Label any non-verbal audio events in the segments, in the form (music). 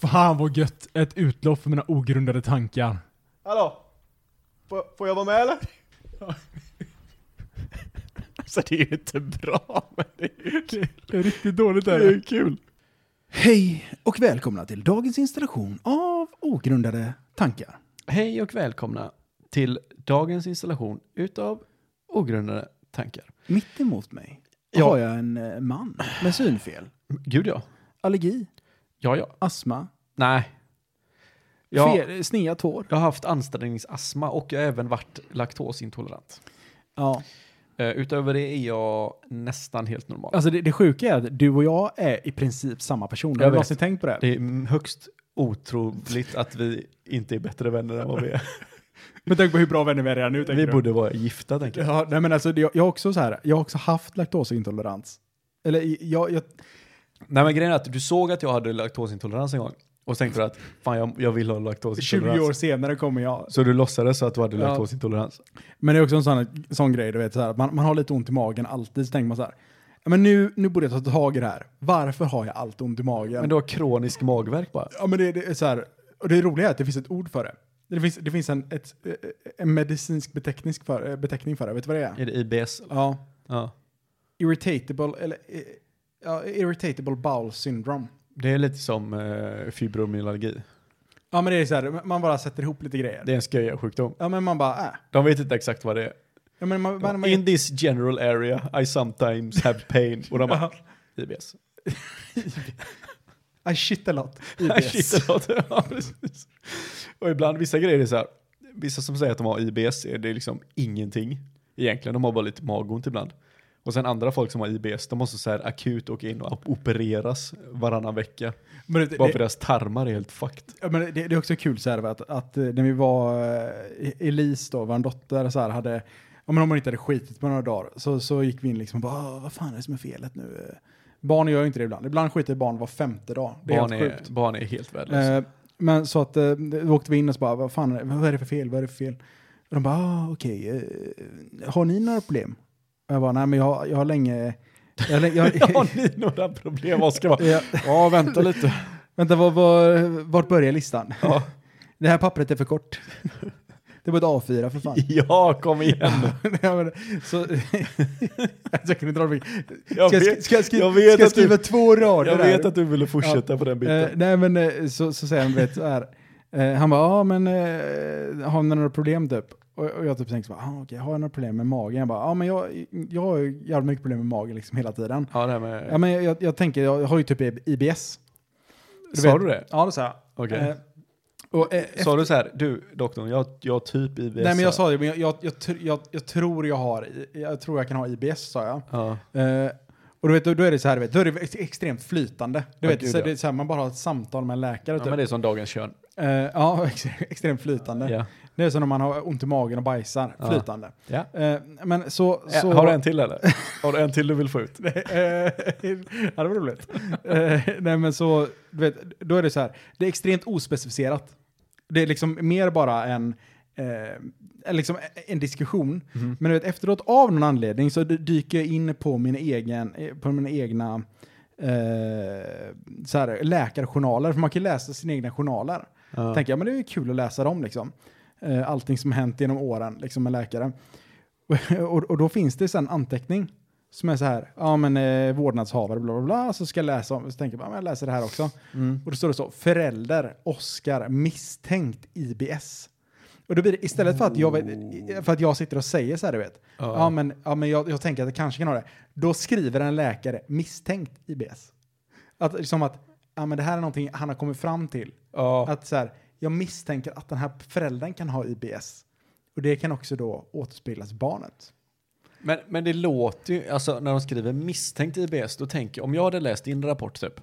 Fan vad gött! Ett utlopp för mina ogrundade tankar. Hallå? Får, får jag vara med eller? (laughs) Alltså det är ju inte bra, men det är ju kul. Det är riktigt dåligt Det är ju kul. Hej och välkomna till dagens installation av ogrundade tankar. Hej och välkomna till dagens installation utav ogrundade tankar. Mitt emot mig Ja. har jag en eh, man med synfel, Gud ja. allergi, Ja, ja. astma, Nej. Jag, fel, snea tår. jag har haft anställningsastma och jag har även varit laktosintolerant. Ja. Eh, utöver det är jag nästan helt normal. Alltså det, det sjuka är att du och jag är i princip samma person. Har Jag du vet. någonsin tänkt på det? Det är högst otroligt att vi inte är bättre vänner än (laughs) vad vi är. Men tänk på hur bra vänner vi är redan nu. tänker Vi du. borde vara gifta, tänker jag. Ja, nej men alltså, det- jag, jag, har också så här, jag har också haft laktosintolerans. Eller i- jag, jag, Nej, men grejen är att du såg att jag hade laktosintolerans en gång och så tänkte du att fan, jag, jag vill ha (laughs) 20 laktosintolerans. år senare kommer jag. Så du låtsades så att du hade Ja. laktosintolerans? Men det är också en sån, sån grej, du vet, så här, att man, man har lite ont i magen alltid, så tänker man så här. "Ja, Men nu, nu borde jag ta tag i det här. Varför har jag allt ont i magen? Men du har kronisk magvärk bara? Ja, men det, det är så här, och det roliga är att det finns ett ord för det. Det finns, det finns en, ett, eh, en medicinsk beteckning för, eh, beteckning för det, vet du vad det är? Är det IBS? Ja. Ja. Irritatable, eller, eh, ja, irritatable bowel syndrome. Det är lite som eh, fibromyalgi. Ja, men det är så här, man bara sätter ihop lite grejer. Det är en sköja-sjukdom. Ja, men man bara, äh. De vet inte exakt vad det är. Ja, men man, man, man, In this general area I sometimes have pain. Och de bara, IBS. I shit a (laughs) lot. IBS. Shit, det låter- ja, precis. Och ibland, vissa grejer är så här, vissa som säger att de har IBS, är det liksom ingenting egentligen. De har bara lite magont ibland. Och sen andra folk som har IBS, de måste så här akut åka in och opereras varannan vecka. Men det, Bara för det, deras tarmar är helt fucked. ja, men det, det är också kul så här, att, att eh, när vi var, eh, Elise då, vår dotter, så här, hade, ja, men om hon inte hade skitit på några dagar, så, så gick vi in liksom och bara, "Ah, vad fan är det som är felet nu? Eh, Barn gör ju inte det ibland. Ibland skiter barn var femte dag. Det är Barn helt är, sjukt. barn är helt värdelösa. (laughs) Eh, men så att eh, då åkte vi in och så bara, vad fan, är det- vad är det för fel, vad är det för fel? Och de bara, ah, okej, eh, har ni några problem? Och jag bara, nej men jag, har- jag har länge, jag, har länge- jag, (laughs) (laughs) Har ni några problem, Oskar? Bara, jag, Ja, vänta lite. Vänta, var, var, vart börjar listan? Ja. Det här pappret är för (laughs) kort. Det var ett A4 för fan. Ja, (laughs) kom igen. Ja, men, så, (laughs) alltså, jag kunde inte hålla mig. Jag Ska jag, sk- vet, ska jag, skri- jag vet ska jag att du- skriva två rader? jag här? vet att du ville fortsätta på den biten. Eh, nej, men eh, så, så säger han, vet, så här. Eh, han bara, ja men eh, har ni några problem typ? Och, och jag typ tänker så bara, ah, okej, har jag några problem med magen? Jag bara, ja men jag, jag har ju jävligt mycket problem med magen liksom hela tiden. ja, det här med, Ja men jag, jag, tänker, jag har ju typ IBS. sa du det? Ja det sa jag. Okej. Eh, och, eh, Sa du så här, du doktorn, jag, jag har typ IBS. Nej men jag sa det, men jag, jag, jag, tr- jag, jag tror jag har, i- jag tror jag kan ha IBS sa jag. Ja. Eh, och du vet, då då är det så här, du vet, då är det ex- extremt flytande. Du Ja, vet, gud, så, ja. det är så här, man bara har ett samtal med en läkare ja, typ. men det är som dagens kön. Eh, ja (laughs) ex- extremt flytande. Ja. Det är som när man har ont i magen och bajsar, Ja. flytande. Ja. Eh, men så... Eh, så Har du en till eller? Har du en till du vill få ut? (laughs) Eh, ja, det var roligt. Eh, nej, men så, du vet, då är det så här. Det är extremt ospecificerat. Det är liksom mer bara en, eh, liksom en diskussion. Men du vet, efteråt av någon anledning så dy- dyker jag in på min egen, eh, på mina egna eh, så här, läkarjournaler. För man kan ju läsa sina egna journaler. Ja. Tänker jag, men det är ju kul att läsa dem liksom. Eh, allting som hänt genom åren liksom med läkare. (laughs) Och, och, och då finns det sen anteckning som är så här, ja men eh, vårdnadshavare bla bla bla, så ska jag läsa om, så tänker jag, bara, men jag läser det här också. Och då står det så, förälder, Oscar, misstänkt IBS. Och då blir det, istället för att jag, vet- för att jag sitter och säger så här, du vet, ja, men, ja, men jag, jag tänker att jag kanske kan ha det. Då skriver en läkare misstänkt IBS. Att, som att, ja men det här är någonting han har kommit fram till. Ja. Att så här, jag misstänker att den här föräldern kan ha IBS. Och det kan också då återspeglas i barnet. Men, men det låter ju, alltså när de skriver misstänkt IBS, då tänker jag, om jag hade läst din rapport typ,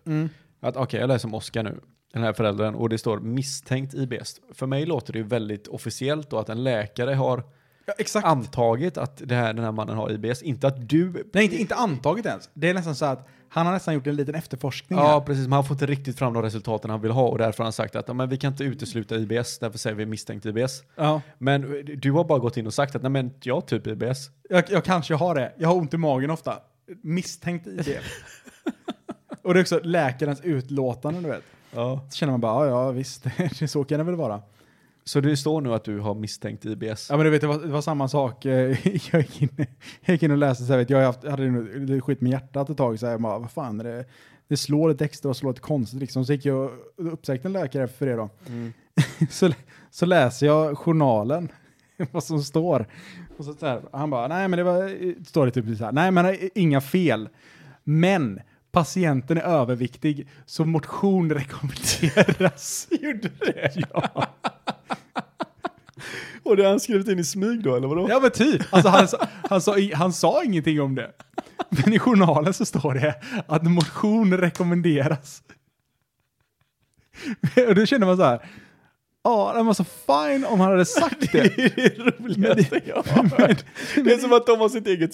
att okej, jag läser om Oskar nu, den här föräldern, och det står misstänkt IBS. För mig låter det ju väldigt officiellt då att en läkare har Ja, exakt. antagit att det här, den här mannen har IBS, inte att du... Nej, inte, inte antaget ens. Det är nästan så att han har nästan gjort en liten efterforskning Ja, här. precis. Men han får inte riktigt fram de resultaten han vill ha och därför har han sagt att "Ja, men vi kan inte utesluta IBS, därför säger vi misstänkt IBS. Ja. Men eh, du har bara gått in och sagt att nej men jag har typ IBS. Jag, jag kanske har det. Jag har ont i magen (laughs) ofta. Misstänkt IBS. och det är också läkarens utlåtande, du vet. Ja. Så känner man bara, ja, ja visst, (laughs) det- så kan det väl vara. Så det står nu att du har misstänkt IBS? Ja men du vet, det var, det var samma sak. eh, (laughs) Jag gick in, jag gick in och läste så här, vet, jag har haft, hade nog lite skit med hjärtat ett tag. Så här, jag bara, vad fan är det? Det slår lite extra och slår lite konstigt liksom. Så gick jag och uppsökte en läkare för det då. (laughs) Så, så läser jag journalen, (laughs) vad som står. Och så, så här, han bara, nej men det var, står det typ så här, nej men eh, inga fel. Men patienten är överviktig så motion rekommenderas. (laughs) Gjorde det? Ja. Och det har han skrivit in i smyg då, eller vadå? Ja men typ. Alltså, han, sa- han, sa, i- han sa ingenting om det. Men i journalen så står det att motion rekommenderas. Och då känner man så här. Ja, det var så fine om han hade sagt det. (laughs) Det är det roligaste jag har hört. Det är som att de har sitt eget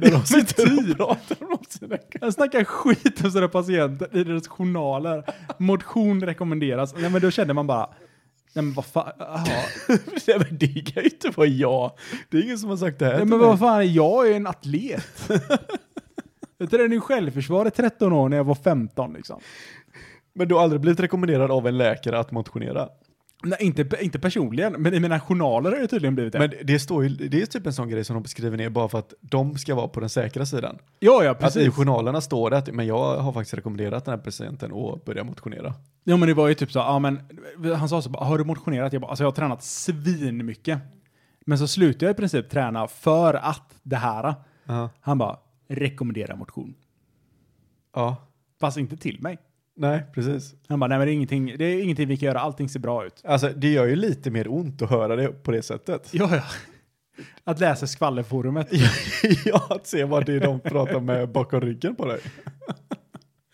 (laughs) där de sitter och pratar om sina typ. Han snackar skit om sina patienter i deras journaler. Motion rekommenderas. Nej men då känner man bara. Nej men vad fan. jaha. Nej men (laughs) det kan ju inte vara jag. Det är ingen som har sagt det här Nej till men mig. vad fan, jag är ju en (laughs) atlet. Jag tränade ju självförsvar i 13 år när jag var 15 liksom. men du har aldrig blivit rekommenderad av en läkare att motionera? Nej, inte, inte personligen, men i mina journaler har det tydligen blivit det. Men det står ju, det är typ en sån grej som de beskriver ner bara för att de ska vara på den säkra sidan. ja, ja, Att i precis. journalerna står det att men jag har faktiskt rekommenderat den här patienten att börja motionera. Ja, men det var ju typ så, ja, men, han sa så bara, har du motionerat? Jag bara, alltså jag har tränat svin mycket. Men så slutade jag i princip träna för att det här. Han bara, rekommendera motion. Ja, Fast inte till mig. nej precis. Han bara, nej men det är ingenting, det är ingenting vi kan göra, allting ser bra ut. Alltså det gör ju lite mer ont att höra det på (laughs) det sättet. (laughs) Ja, ja. Att läsa skvallerforumet. ja, att se vad det är de pratar med bakom ryggen på dig.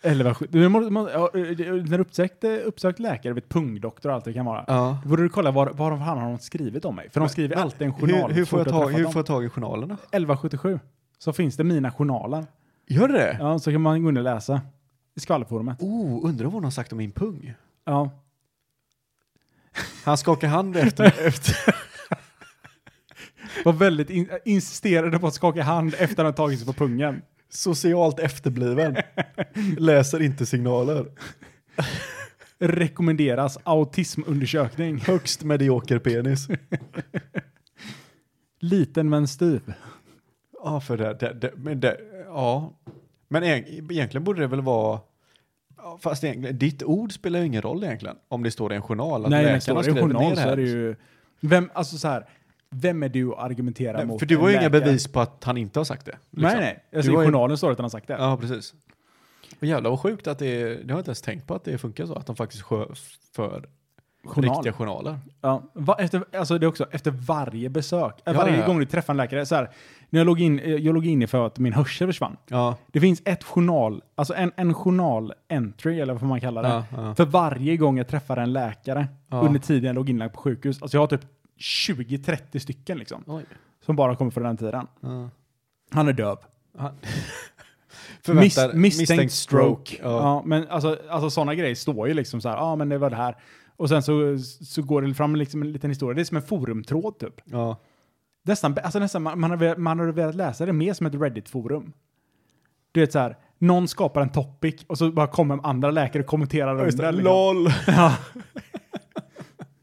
Eller vad skit. Du må- må- ja, eh, När du uppsökte, uppsökt läkare, vet, pungdoktor och allt det kan vara. Ja. Då borde du kolla vad, vad de fan har de skrivit om mig. För de skriver alltid en journal. Hur, hur, får, jag Tror tag, du att hur träffat får jag tag i journalerna? dem? 1177. Så finns det mina journaler. Gör det? Ja, så kan man gå in och läsa. I skvallerforumet. Oh, undrar vad hon har sagt om min pung. Ja. Han skakar (laughs) hand efter, efter Var väldigt in, insisterade på att skaka hand efter att han tagit sig på pungen. socialt efterbliven. Läser inte signaler. Rekommenderas autismundersökning. Högst medioker penis. Liten men styv. Ja, för det, det, det, men det, ja. Men eg- egentligen borde det väl vara, ja, fast egentligen, ditt ord spelar ju ingen roll egentligen. Om det står i en journal att Nej, men läkaren står har det i en skrivit ner journal så det här. är det ju... Vem, alltså så här. Vem är du att argumentera Nej, mot? För du har ju En inga läkare. bevis på att han inte har sagt det. Nej, liksom. nej. Alltså, Du I har ju- journalen står det att han har sagt det. Ja, precis. Och jävlar vad sjukt att det är, det har jag inte ens tänkt på att det funkar så, att de faktiskt skö, för Journal. riktiga journaler. Ja, va, efter, alltså det är också efter varje besök, äh, Ja, varje ja, ja. gång du träffar en läkare. Så här, när jag låg in, eh, jag låg in för att min hörsel försvann. Ja, Det finns ett journal, alltså en, en journal-entry eller vad man kallar det. Ja, ja. För varje gång jag träffar en läkare Ja. under tiden jag låg inlagd på sjukhus. Alltså jag har typ 20-30 stycken liksom. Oj. Som bara kommer från den tiden. Han är döv. (laughs) Mis, Förväntar- misstänkt, stroke. Ja. men alltså sådana grejer står ju liksom så här, ja ah, men det var det här. Och sen så, så går det fram liksom en liten historia, det är som en forumtråd typ. Ja. Nästan, alltså nästan, man, man, har velat, man har velat läsa det mer som ett Reddit-forum. Du vet så här, någon skapar en topic och så bara kommer andra läkare och kommenterar Just det, under. Liksom. LOL! Ja.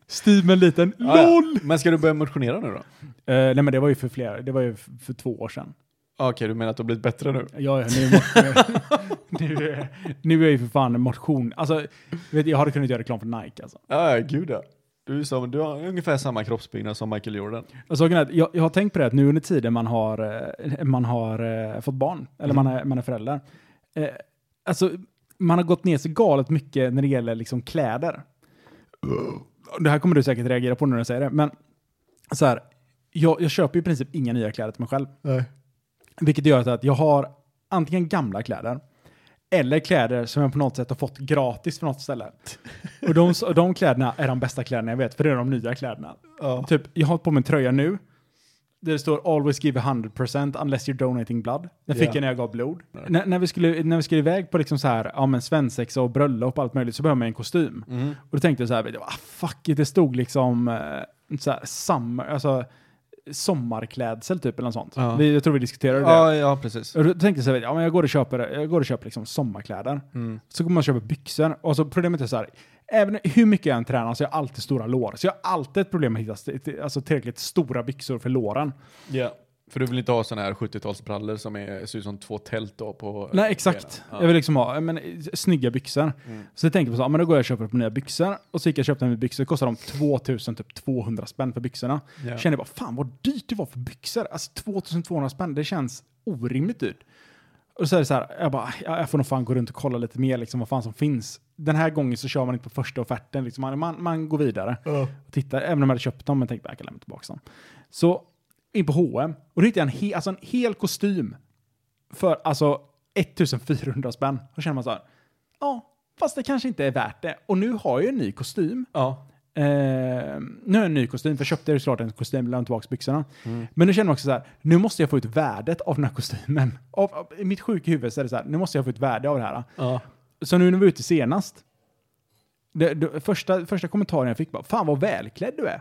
Steve med en liten LOL! LOL! (laughs) Men ska du börja motionera nu då? Eh, nej men det var ju för flera, det var ju f- för två år sedan. Okej, du menar att du har blivit bättre nu? Ja, ja, nu, nu, (laughs) nu, nu är jag ju för fan en motion. Alltså, vet, du, jag hade kunnat göra reklam för Nike alltså. Ja, ja, gud ja. Du, är som, du har ungefär samma kroppsbyggnad som Michael Jordan. Och saken är att jag, jag har tänkt på det att nu under tiden man har, eh, man har eh, fått barn, eller man, är, man är förälder, eh, alltså man har gått ner sig galet mycket när det gäller liksom kläder. Det här kommer du säkert reagera på när jag säger det, men så här, jag, jag köper ju i princip inga nya kläder till mig själv. Vilket gör att jag har antingen gamla kläder, eller kläder som jag på något sätt har fått gratis från något ställe. Och de, de kläderna är de bästa kläderna jag vet, för det är de nya kläderna. Ja. Typ, jag har på mig en tröja nu. Där det står “Always give 100% unless you're donating blood”. Den fick Ja. jag när jag gav blod. När, när, vi skulle, när vi skulle iväg på liksom så här, ja, men svensexa och bröllop och allt möjligt så behöver man en kostym. Mm. Och då tänkte jag så här, vet du, ah, fuck it, det stod liksom eh, så här, summer, alltså sommarklädsel typ eller något sånt. Ja. Vi, jag tror vi diskuterade det. Ja, ja precis. Och då tänkte jag så här, ja, men jag går och köper, jag går och köper liksom sommarkläder. Så går man och köper byxor. Och så problemet är så här, även hur mycket jag än tränar så har jag alltid stora lår. Så jag har alltid ett problem med att hitta st- till- alltså, tillräckligt stora byxor för låren. Ja. För du vill inte ha sådana här 70-talsbrallor som är, ser ut som två tält då på... Nej, exakt. Ja. Mm. Jag vill liksom ha ja, men, eh, snygga byxor. Så jag tänker på så, ja, men då går jag och köper på nya byxor. Och så gick jag och köpte mig byxor, kostar de 2000, typ 200 spänn för byxorna. Ja. Känner bara, fan vad dyrt det var för byxor. Alltså 2200 spänn, det känns orimligt dyrt. Och så är det så här, jag bara, "Ah, "Ja, jag får nog fan gå runt och kolla lite mer liksom vad fan som finns. Den här gången så kör man inte på första offerten, liksom. man, man, man går vidare. Och tittar, även om jag hade köpt dem, men tänkte "Ah, jag kan lämna tillbaka dem. Så in på H&M och då hittade jag en, he, alltså en hel kostym för alltså 1400 spänn. Då känner man så här, ja, fast det kanske inte är värt det. Och nu har jag ju en ny kostym. Ja. Eh, nu har jag en ny kostym, för jag köpte ju såklart en kostym, lämnade tillbaka byxorna. Mm. Men nu känner man också så här, nu måste jag få ut värdet av den här kostymen. Av, av, I mitt sjuka huvud så är det så här, nu måste jag få ut värde av det här. Ja. Så nu när vi var ute senast, det, det, första, första kommentaren jag fick var fan vad välklädd du är.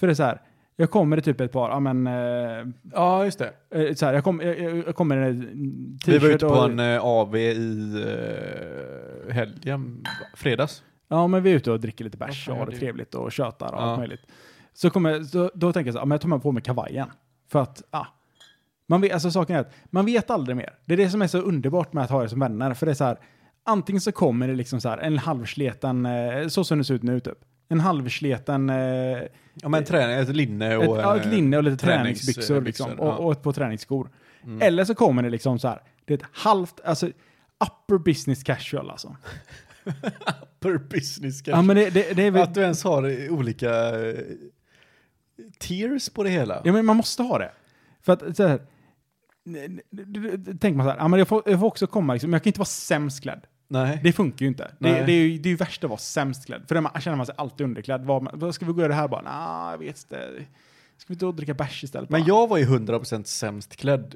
För det är så här, jag kommer i typ ett par, ja men, eh, ja, just det. eh, så här, jag, kom, jag, jag- jag kommer i en Vi t-shirt var ute på och, en eh, AV i eh, helgen, va? fredags. Ja, men vi är ute och dricker lite bärs Vad fan och har gör det du? trevligt och tjötar och Ja. allt möjligt. Så kommer, så, då tänker jag så här, ja, men jag tar med på mig kavajen. För att, ah, man vet, alltså saken är att man vet aldrig mer. Det är det som är så underbart med att ha er som vänner. För det är så här, antingen så kommer det liksom så här en halvsleten, eh, så som det ser ut nu typ. En halvsleten, eh, ett, Ja, men träning, ett linne och... ja, ett eh, linne och lite tränings- eh, träningsbyxor liksom. byxor, Och, ja. Mm. och ett par träningsskor. Eller så kommer det liksom så här, det är ett halvt, alltså upper business casual alltså. Per business Ja, men det, det, det är väl, eh, Att du ens har eh, olika eh, tiers på det hela. Ja, men man måste ha det. För att så här, n- n- n- tänker man så här, ja, men jag, får, jag får också komma, liksom, men jag kan inte vara sämst klädd. Nej. Det funkar ju inte. Det, Nej. det, är, ju, det är ju värst att vara sämst klädd, för då man, känner man sig alltid underklädd. Vad, man- vad ska vi gå och göra det här bara? Nah, jag vet inte. Ska vi inte gå och dricka bärs istället? Men bara? jag var ju 100% sämst klädd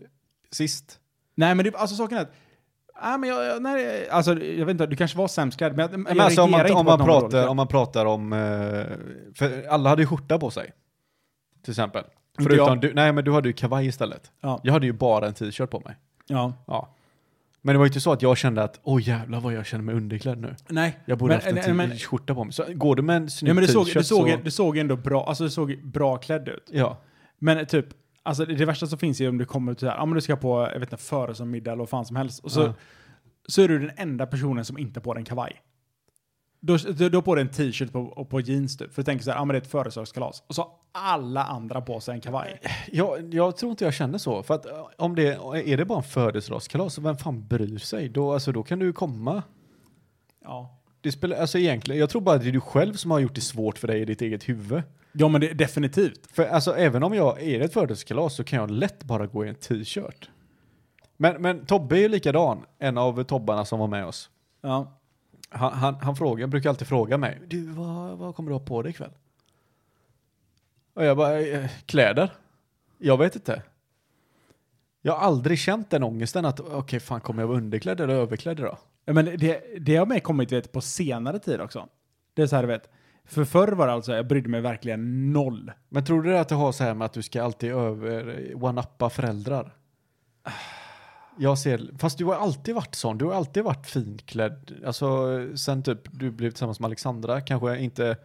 sist. Nej, men det, alltså saken är att Nej, men jag, jag, nej, alltså, jag vet inte, du kanske var sämst klädd, men, jag- jag Men alltså, om, reagerar man, inte om, på att man någon var dåligt pratar, klädd. om man pratar om... eh, För alla hade ju skjorta på sig. Till exempel. Inte Förutom jag. du, nej men du hade ju kavaj istället. Ja. Jag hade ju bara en t-shirt på mig. Ja. Ja. Men det var ju inte så att jag kände att åh jävlar vad jag känner mig underklädd nu. Nej. Jag borde haft en nej, men, t- skjorta på mig. Så går du med en snygg nej, men du, såg, t-shirt du, såg, så... du såg ändå bra, alltså, du såg bra klädd ut. Ja. Men typ, alltså det, det värsta som finns är om du kommer ut så här, ja men du ska på, jag vet inte, före som middag eller vad fan som helst. Och så, Ja. så är du den enda personen som inte har på dig en kavaj. Då, då, då på dig en t-shirt på, och på jeans typ. För du tänker så här, ja men det är ett företagskalas. Och så har alla andra på sig en kavaj. Jag, jag tror inte jag känner så. För att eh, om det är det bara en födelsedagskalas, så vem fan bryr sig? Då, alltså, då kan du ju komma. Ja. Det spelar, alltså egentligen, jag tror bara att det är du själv som har gjort det svårt för dig i ditt eget huvud. Ja men det, definitivt. För alltså även om jag är i ett födelsedagskalas så kan jag lätt bara gå i en t-shirt. Men, men Tobbe är ju likadan, en av tobbarna som var med oss. Ja. Han, han, han frågar, brukar alltid fråga mig, du vad, vad kommer du ha på dig ikväll? Och jag bara, "Eh, kläder? Jag vet inte. Jag har aldrig känt den ångesten att, okej fan kommer jag vara underklädd eller överklädd idag? Ja, Men det, det har mig kommit vet, på senare tid också. Det är så här du vet, för förr var det alltså, jag brydde mig verkligen noll. Men tror du det att det har så här med att du ska alltid över eh, one-uppa föräldrar? Jag ser, fast du har alltid varit sån, du har alltid varit finklädd. Alltså sen typ du blev tillsammans med Alexandra, kanske inte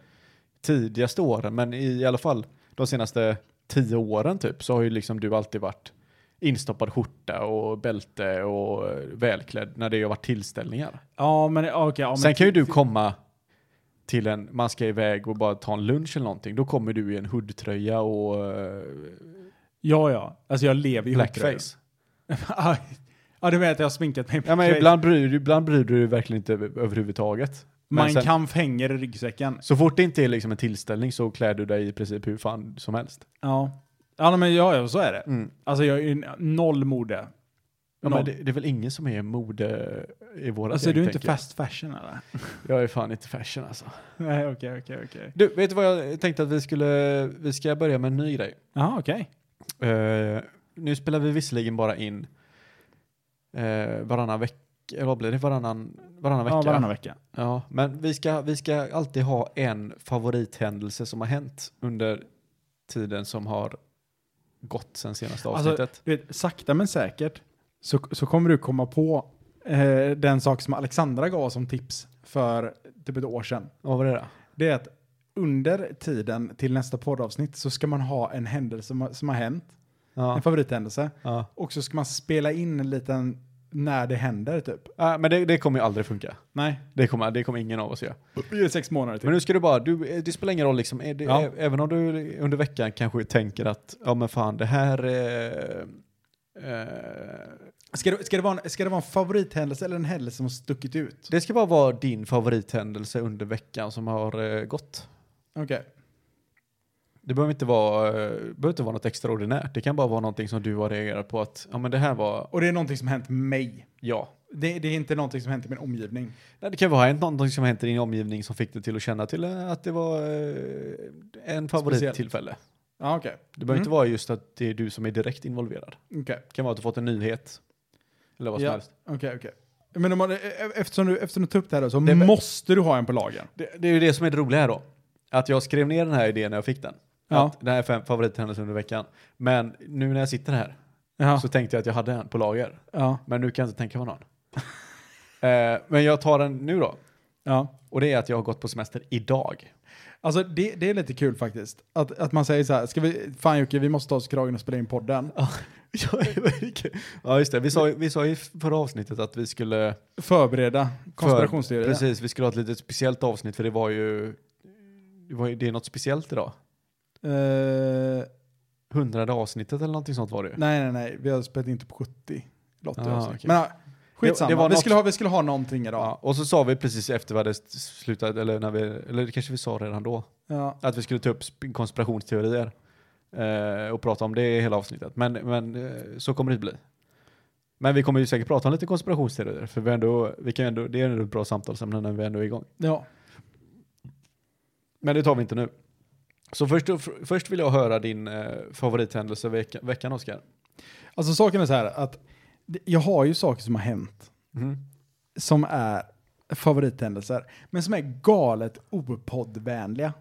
tidigaste åren, men i alla fall de senaste tio åren typ så har ju liksom du alltid varit instoppad skjorta och bälte och eh, välklädd när det har varit tillställningar. Ja men okej. ja, men- Sen kan ju du komma till en, man ska iväg och bara ta en lunch eller någonting, då kommer du i en hoodtröja och eh, Ja ja, alltså jag lever ju i hundra. blackface. Ja, (laughs) ja, du menar att jag har sminkat mig. Ja, men ibland, bryr, du- ibland bryr du dig verkligen inte över- överhuvudtaget. Men Mein sen, Kampf hänger i ryggsäcken. Så fort det inte är liksom en tillställning så klär du dig i princip hur fan som helst. Ja. Ja, men ja, ja, så är det. Mm. Alltså jag är ju noll mode. Ja, Noll. men det, det är väl ingen som är mode i våra alltså är du inte tänker jag. fast fashion eller? Jag är fan inte fashion alltså. Nej, okej, okej, okej. Du, vet du vad jag tänkte att vi skulle, vi ska börja med en ny grej. Jaha, okej. Eh, nu spelar vi visserligen bara in eh, varannan vecka, eller vad blir det? Varannan, varannan vecka? Ja, varannan vecka. Ja, men vi ska, vi ska alltid ha en favorithändelse som har hänt under tiden som har gott sen senaste Alltså, avsnittet. du vet, sakta men säkert så, så kommer du komma på eh, den sak som Alexandra gav som tips för typ ett år sedan. Vad var det då? Det är att under tiden till nästa poddavsnitt så ska man ha en händelse som, har- som har hänt, Ja. en favorithändelse. Ja. Och så ska man spela in en liten när det händer typ. Äh, men det, det kommer ju aldrig funka. Nej, Det kommer, det kommer ingen av oss göra. det är sex månader till. Men nu ska du bara, du, eh, det spelar ingen roll liksom, Är det, Ja. ä- även om du under veckan kanske tänker att, ja men fan det här, eh, eh, Ska, det, ska, det vara en, ska det vara en favorithändelse eller en händelse som har stuckit ut? det ska bara vara din favorithändelse under veckan som har eh, gått. Okej. Det behöver inte, vara, eh, behöver inte vara något extraordinärt, det kan bara vara någonting som du har reagerat på att, ja men det här var, Och det är någonting som har hänt mig. ja. Det, det är inte någonting som har hänt i min omgivning. Nej, Det kan vara hänt någonting som hänt i din omgivning som fick dig till att känna till eh, att det var eh, en favorittillfälle. Ja, okej. Det behöver Mm. inte vara just att det är du som är direkt involverad. Okej. Det kan vara att du fått en nyhet. Eller vad som Ja, helst. Okej, okej. Men om man, e- e- eftersom, du, eftersom du tog upp det här då, så Det är väl- måste du ha en på lagen. Det, det är ju det som är det roliga här då. Att jag skrev ner den här idén när jag fick den. Ja. Att det här är fem favorithändelser under veckan. Men nu när jag sitter här Ja. så tänkte jag att jag hade en på lager. ja. Men nu kan jag inte tänka på någon. (laughs) eh, men jag tar den nu då. ja. Och det är att jag har gått på semester idag. Alltså det, det är lite kul faktiskt. Att, att man säger så här, ska vi, fan Jocke, vi måste ta oss i kragen och spela in podden. (laughs) ja just det, vi sa, ju- vi sa ju i förra avsnittet att vi skulle... Förbereda konspirationsteorier. Precis, vi skulle ha ett litet speciellt avsnitt för det var ju... Det, var, ju- det är något speciellt idag. Eh, Hundrade avsnittet eller någonting sånt var det ju. nej, nej, nej, vi har spelat typ inte på 70. Lotto Ah, avsnitt. okej. Alltså. Men ja, skitsamma, Det- det var vi, något- skulle ha, vi skulle ha någonting idag. Ja, och så sa vi precis efter vi hade s- slutat, eller, när vi, eller det kanske vi sa redan då, Ja. att vi skulle ta upp sp- konspirationsteorier eh, och prata om det i hela avsnittet. Men, men eh, så kommer det inte bli. Men vi kommer ju säkert prata om lite konspirationsteorier, för vi ändå, vi kan ju ändå, det är ändå ett bra samtalsämne när vi ändå är igång. ja. Men det tar vi inte nu. Så först, och fr- först vill jag höra din eh, favorithändelse vecka, veckan, Oskar. Alltså saken är så här att det- jag har ju saker som har hänt Mm. som är favorithändelser, men som är galet opoddvänliga.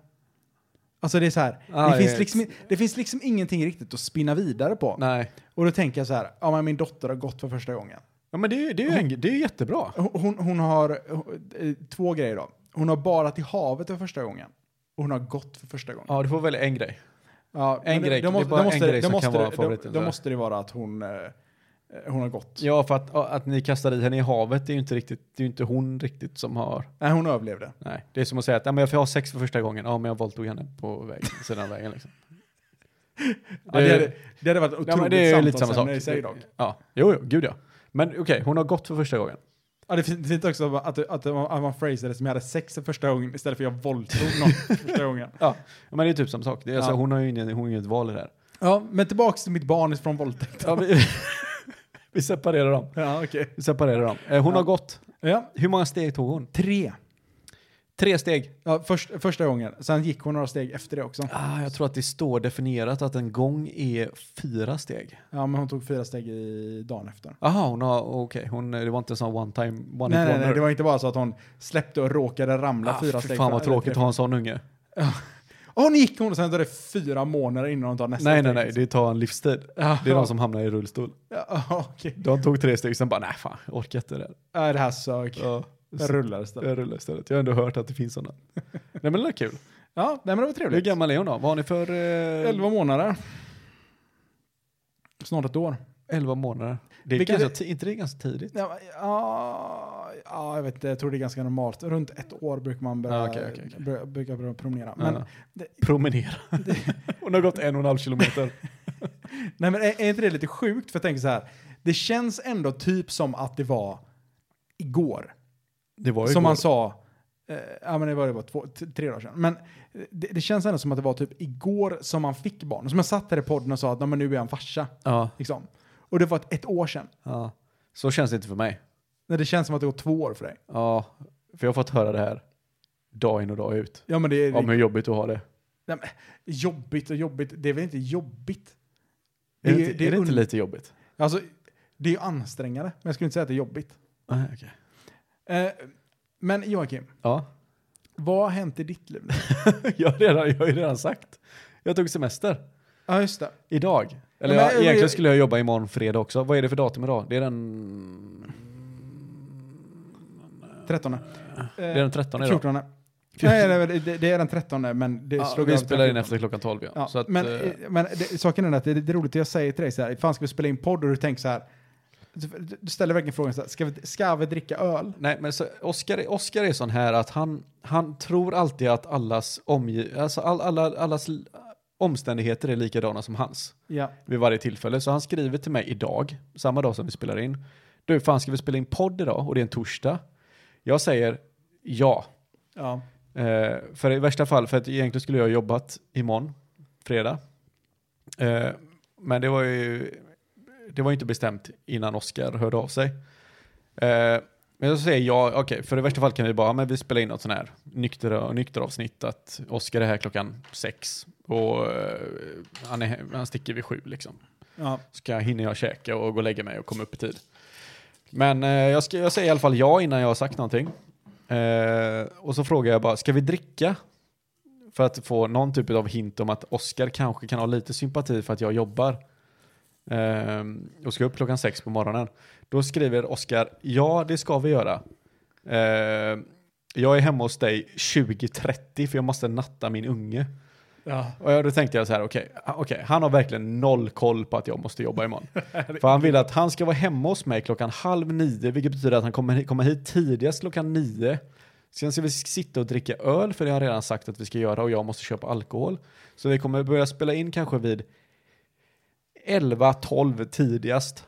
Alltså det är så här, Ah, det, finns yes. liksom, det finns liksom ingenting riktigt att spinna vidare på. Nej. Och då tänker jag så här, ja men min dotter har gått för första gången. Ja, men det, är ju- det, är ju en, det är ju jättebra. Hon, hon, hon har eh, två grejer då. Hon har badat i havet för första gången. Och hon har gått för första gången. Ja, du får välja en grej. Ja, en men grej. då Det är må- bara då måste en det- grej då som måste kan vara det- då- favoriten, Då så. måste det vara att hon, eh, hon har gått. Ja, för att, att ni kastar i henne i havet, det är ju inte riktigt, det är ju inte hon riktigt som har... Nej, hon överlevde. Nej, det är som att säga att ja, men jag får ha sex för första gången. Ja, men jag våldtog henne på vägen, sidan vägen (laughs) liksom. Ja, det, hade, det hade varit men otroligt det är ju lite samma samtalsämne sak. i sig dock. Ja, jo, jo, gud ja. Men okej, hon har gått för första gången. Ja, det är fint- fint också att, att, att, man- att man phrasade det som jag hade sex för första gången istället för jag våldtog (laughs) någon för första gången. Ja, men det är typ samma sak. Det är, alltså, Ja. hon har ju ingen, hon har inget val i det här. Ja, men tillbaks till mitt barn från våldtäkt. Ja, vi, (laughs) vi separerar dem. Ja, okej. Vi separerar dem. Eh, hon Ja. har gått. Ja, Hur många steg tog hon? tre. Tre steg. Ja, först, första gången. Sen gick hon några steg efter det också. Ah, jag tror att det står definierat att en gång är fyra steg. Ja, men hon tog fyra steg i dagen efter. Jaha, hon har, okej, hon, det var inte en sån one time, one Nej, hit nej, nej, wonder. det var inte bara så att hon släppte och råkade ramla ah, fyra fyra steg. fan vad fram- tråkigt att eller- ha en sån unge. Ja, nu gick hon och sen tar det fyra månader innan hon tar nästa Nej, nej, steg. nej, det tar en livstid. Det är de som hamnar i rullstol. Ja, (laughs) okej. De tog tre steg, sen bara nej fan, jag orkar inte det där. Ja, det här sög. Ja, Jag rullar istället. jag rullar istället. Jag har ändå hört att det finns sådana. (laughs) nej men det är kul. Ja, nej, men det var Hur trevligt. gammal är hon då? Vad har ni för... Eh, 11 månader. Snart ett år. 11 månader. Det är Vilket- ganska, ti- inte det är ganska tidigt? Ja, men, ja, ja, jag vet inte. Jag tror det är ganska normalt. Runt ett år brukar man börja, Ja, okej, okej, okej. börja- brukar börja promenera. Men, Ja. det, Promenera. (laughs) hon har gått en och en halv kilometer. nej, men är, är inte det lite sjukt? För jag tänker så här. Det känns ändå typ som att det var igår. Det var ju Som igår. man sa. Eh, ja, men det var, det var två, t- tre dagar sedan. Men det, det känns ändå som att det var typ igår som man fick barn. Som jag satt här i podden och sa att "Nej, men nu är jag en farsa. Ja, Liksom. Och det var ett, ett år sedan. ja. Så känns det inte för mig. När det känns som att det går två år för dig. Ja, för jag har fått höra det här dag in och dag ut. Ja, men det är... Om hur jobbigt du har det. Nej, men, jobbigt och jobbigt, det är väl inte jobbigt? Är det, inte- är det inte un- lite jobbigt? Alltså, det är ju ansträngande, men jag skulle inte säga att det är jobbigt. Nej, okej. Eh, men Joakim, Ja, vad har hänt i ditt liv? nu? (laughs) jag har, redan, jag har ju redan sagt. Jag tog semester Ja, just det. idag. Eller Men- jag, egentligen skulle jag jobba imorgon fredag också. Vad är det för datum idag? Det är den, 13. Eh, det är den 13 idag. 14. Nej, nej, nej, det, det är den 13 men det Ja, slog vi över till spelar in 14. efter klockan 12 ja. Ja, så att, men eh, eh, men det, saken är att det, det är roligt att jag säger till dig så här, fan ska vi spela in podd och du tänker så här, du, du ställer verkligen frågan så här, ska vi, ska vi dricka öl? Nej, men så Oscar, Oscar är sån här att han, han tror alltid att allas, omgi- alltså all, alla, allas l- omständigheter är likadana som hans Ja. vid varje tillfälle. Så han skriver till mig idag, samma dag som vi spelar in. Du, fan ska vi spela in podd idag? Och det är en torsdag. Jag säger ja. ja. Eh, för i värsta fall, för att egentligen skulle jag ha jobbat imorgon, fredag. Eh, men det var ju det var ju inte bestämt innan Oscar hörde av sig. Eh, men så säger jag, okej, för i värsta fall kan vi bara, ja, men vi spelar in något sån här nykter, nykter avsnitt att Oscar är här klockan sex och eh, han, är, han sticker vid sju liksom. ja. Så kan jag, hinner jag käka och gå och lägga mig och komma upp i tid. Men eh, jag, ska, jag säger i alla fall ja innan jag har sagt någonting. Eh, och så frågar jag bara, ska vi dricka? För att få någon typ av hint om att Oscar kanske kan ha lite sympati för att jag jobbar. Eh, och ska upp klockan sex på morgonen. Då skriver Oscar, ja det ska vi göra. Eh, jag är hemma hos dig 20.30 för jag måste natta min unge. ja. Och jag- då tänkte jag så här, okej, okay, han har verkligen noll koll på att jag måste jobba imorgon. För han vill att han ska vara hemma hos mig klockan halv nio, vilket betyder att han kommer hit, kommer hit tidigast klockan nio. Sen ska vi sitta och dricka öl, för det har jag redan sagt att vi ska göra och jag måste köpa alkohol. Så vi kommer börja spela in kanske vid 11, 12 tidigast.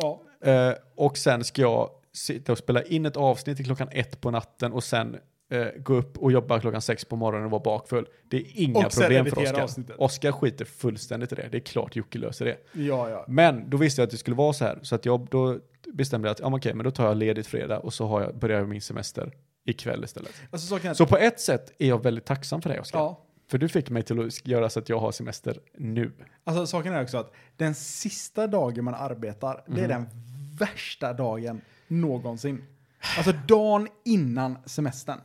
Ja. Eh, och sen ska jag sitta och spela in ett avsnitt till klockan ett på natten och sen eh, gå upp och jobba klockan sex på morgonen och vara bakfull. Det är inga Och sen problem för editera Oskar. avsnittet. Oskar skiter fullständigt i det. Det är klart Jocke löser det. Ja, ja. Men då visste jag att det skulle vara så här. Så att jag då bestämde jag att ja, men okej, men då tar jag ledigt fredag och så har jag, börjar jag min semester ikväll istället. Alltså saken är att- Så på ett sätt är jag väldigt tacksam för dig Oskar. ja. För du fick mig till att göra så att jag har semester nu. Alltså saken är också att den sista dagen man arbetar, det Mhm. är den värsta dagen någonsin. Alltså dagen innan semestern.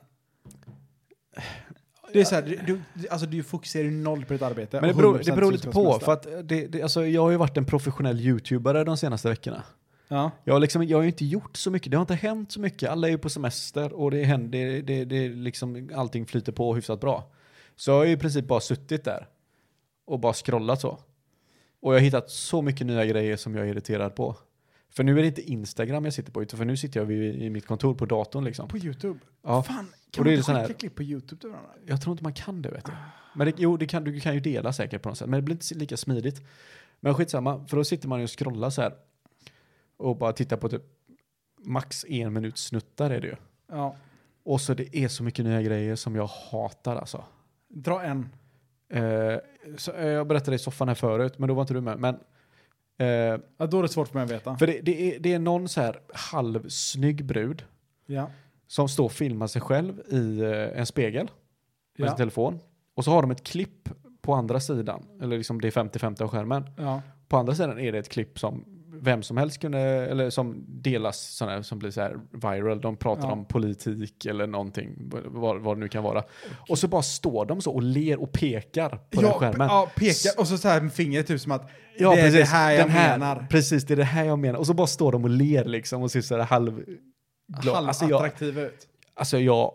Det är så här, du, du, alltså du fokuserar ju noll på ditt arbete. Men det och beror, 100% det beror lite fokus på. semestern. För att det, det, alltså, jag har ju varit en professionell YouTubare de senaste veckorna. ja. Jag har, liksom, jag har ju inte gjort så mycket, det har inte hänt så mycket. Alla är ju på semester och det händer, det, det, det är liksom, allting flyter på hyfsat bra. Så jag har ju i princip bara suttit där och bara scrollat så. Och jag har hittat så mycket nya grejer som jag är irriterad på. För nu är det inte Instagram jag sitter på, utan för nu sitter jag vid, i mitt kontor på datorn liksom. På YouTube. Ja. Fan, Och kan det man är inte sån skicka här- klipp på YouTube till varandra? Jag tror inte man kan det vet du. Men det, jo, det kan, du kan ju dela säkert på något sätt. Men det blir inte lika smidigt. Men skitsamma, för då sitter man ju och scrollar så här. Och bara tittar på typ max en minut snuttar är det ju. Ja. Och så det är så mycket nya grejer som jag hatar alltså. Dra en. Eh, så, eh, jag berättade i soffan här förut, men då var inte du med. Men, eh, Ja, då är det svårt för mig att veta. för det, det, är, det är någon så här halvsnygg brud Ja. som står och filmar sig själv i eh, en spegel med sin Ja. telefon. Och så har de ett klipp på andra sidan, eller liksom det är 50-50 av skärmen. Ja. På andra sidan är det ett klipp som vem som helst kunde, eller som delas sådana här, som blir så här viral. De pratar Ja. om politik eller någonting, vad, vad det nu kan vara. Och så bara står de så och ler och pekar på den Ja, skärmen. ja, pekar och så, så här med fingret typ som att Ja, det är precis. det här jag Den här, menar. Precis, det är det här jag menar. Och så bara står de och ler liksom och ser så här halv... Glad. Alltså jag, Halvattraktiv ut. alltså jag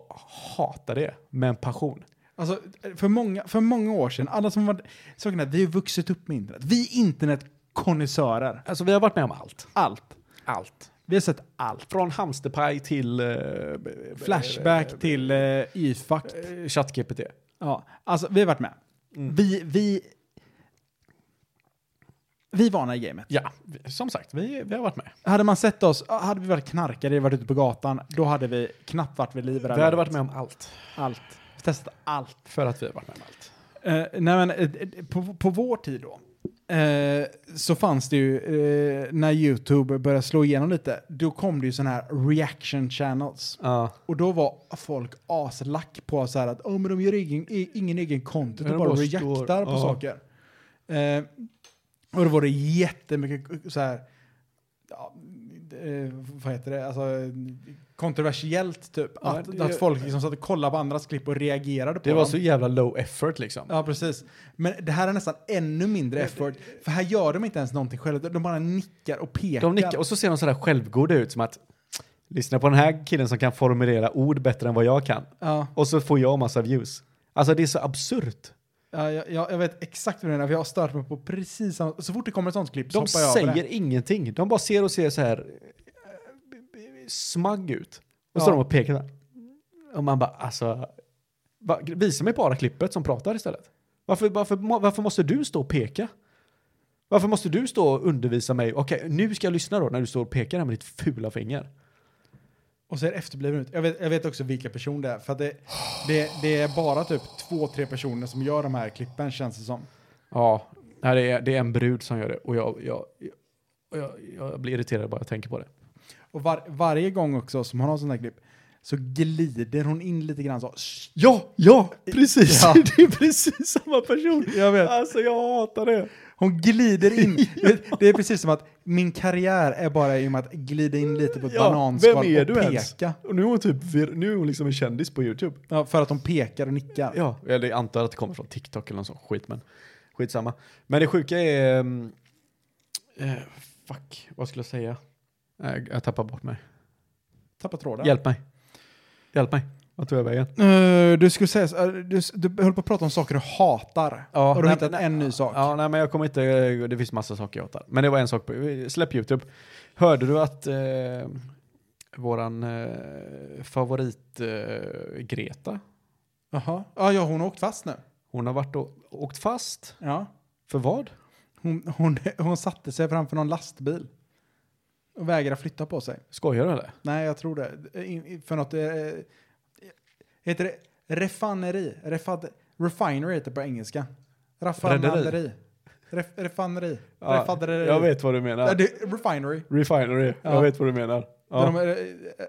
hatar det med en passion. Alltså, för många, för många år sedan, alla som var... Saken är, vi har ju vuxit upp med internet. Vi är internetkonnässörer. Alltså vi har varit med om allt. Allt. Allt. Vi har sett allt. Från hamsterpaj till... eh, Flashback till uh, Y-fakt. eh, ChatGPT. Ja, alltså vi har varit med. Mm. Vi, vi... Vi är vana i gamet. Ja, som sagt, vi, vi har varit med. Hade man sett oss, hade vi varit knarkare, varit ute på gatan, då hade vi knappt varit vid liv. Vi hade varit med om allt. allt. Vi testat allt. För att vi har varit med om allt. Eh, nej men, eh, eh, på, på vår tid då, eh, så fanns det ju, eh, när YouTube började slå igenom lite, då kom det ju sådana här reaction channels. Ja. Och då var folk aslack på så här att oh, men de gör ingen, i- ingen egen content, Ja, de de bara, bara reactar står- på ja. saker. Eh, och då var det jättemycket så här, ja, eh, vad heter det, alltså kontroversiellt typ. Ja, att, det- att folk liksom satt och kollade på andras klipp och reagerade på Det var dem. så jävla low effort liksom. Ja, precis. Men det här är nästan ännu mindre effort. För här gör de inte ens någonting själva. De bara nickar och pekar. De nickar och så ser de sådär självgoda ut som att lyssna på den här killen som kan formulera ord bättre än vad jag kan. Ja, Och så får jag massa views. Alltså det är så absurt. ja, jag, jag jag vet exakt vad du menar. För jag har stört mig på precis samma... Så fort det kommer ett sånt klipp så De hoppar jag över säger det. ingenting. De bara ser och ser så här eh, b- b- smagg ut. Och så Ja. står de och pekar där. Och man bara alltså, va, visa mig bara klippet som pratar istället. Varför, varför, må- varför måste du stå och peka? Varför måste du stå och undervisa mig? Okej, nu ska jag lyssna då när du står och pekar här med ditt fula finger. Och ser efterbliven ut. Jag vet, jag vet också vilka personer det är. För att det, det, det är bara typ två, tre personer som gör de här klippen känns det som. Ja, nej, det, är, det är en brud som gör det och jag, jag, jag, och jag, jag blir irriterad bara jag tänker på det. Och var, varje gång också som hon har sådana här klipp så glider hon in lite grann så. "Shh." Ja, ja, precis. Ja. (laughs) Det är precis samma person. Jag vet. Alltså jag hatar det. Hon glider (laughs) in. Det- Det är precis som att min karriär är bara i och med att glida in lite på ett bananskal och peka. Och nu är hon typ, vir- nu är hon liksom en kändis på YouTube. Ja, för att de pekar och nickar. Ja, eller jag antar att det kommer från TikTok eller någon sån skit, men skitsamma. Men det sjuka är, ehm, eh, fuck, vad skulle jag säga? Nej, jag tappar bort mig. Tappar tråden. Hjälp mig. Hjälp mig. Vad tog jag vägen? Eh, du skulle säga, så- eh, du, du höll på att prata om saker du hatar. Ja, och du har nej, hittat nej, en ny sak. Ja, nej, men jag kommer inte, det finns massa saker jag hatar. Men det var en sak, på- släpp YouTube. Hörde du att eh, våran eh, favorit eh, Greta, Jaha. Ja, ja, hon har åkt fast nu. hon har varit och åkt fast? Ja. För vad? Hon, hon, hon satte sig framför någon lastbil. Och vägrade flytta på sig. Skojar du eller? Nej, jag tror det. In- in- För något... Eh, heter det refineri? Refad, refinery heter det på engelska. Raffinaderi. Rederi. Ref, refineri. Ja, Refaderi. jag vet vad du menar. Ja, det, refinery. Refinery, Ja. jag vet vad du menar. Ja. Där de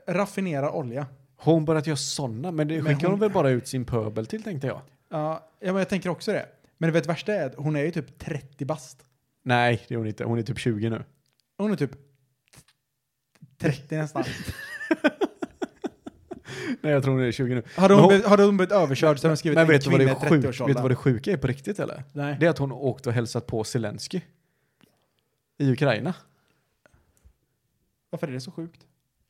eh, raffinerar olja. Har hon börjat göra sådana? Men det Men skickar hon hon- väl bara ut sin pöbel till tänkte jag. Ja, ja, men jag tänker också det. Men du vet värsta är att hon är ju typ 30 bast. Nej, det är hon inte. Hon är typ 20 nu. Hon är typ 30 (laughs) nästan. Nej, jag tror hon är 20 nu. Hade Men hon, hon- blivit- hade hon blivit överkörd så hade hon skrivit Men en vet du, vad det kvinna i är sjuk, vet du vad 30-årsåldern. det sjuka är på riktigt eller? Nej. Det är att hon åkt och hälsat på Zelensky i Ukraina. Varför är det så sjukt?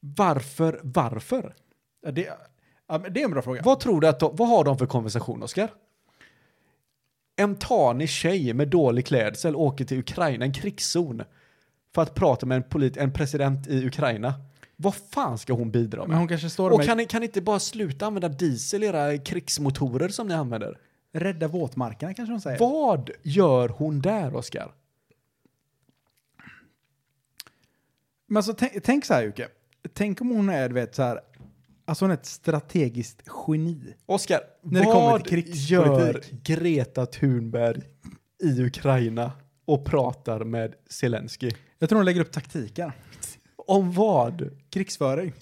Varför, varför? Ja, det, ja, men det är en bra fråga. Vad tror du att de, vad har de för konversation, Oskar? En tanig tjej med dålig klädsel åker till Ukraina, en krigszon, för att prata med en, polit, en president i Ukraina. Vad fan ska hon bidra Men med? hon kanske står där Och med kan ni, kan ni inte bara sluta använda diesel i era krigsmotorer som ni använder? rädda våtmarkerna kanske hon säger. Vad gör hon där, Oskar? Men alltså tänk, tänk så här Jocke. Tänk om hon är, du vet så här, alltså hon är ett strategiskt geni. Oskar, När det kommer vad till gör krigspolitik. Greta Thunberg i Ukraina och pratar med Zelensky? Jag tror hon lägger upp taktiker. Om vad? Krigsföring.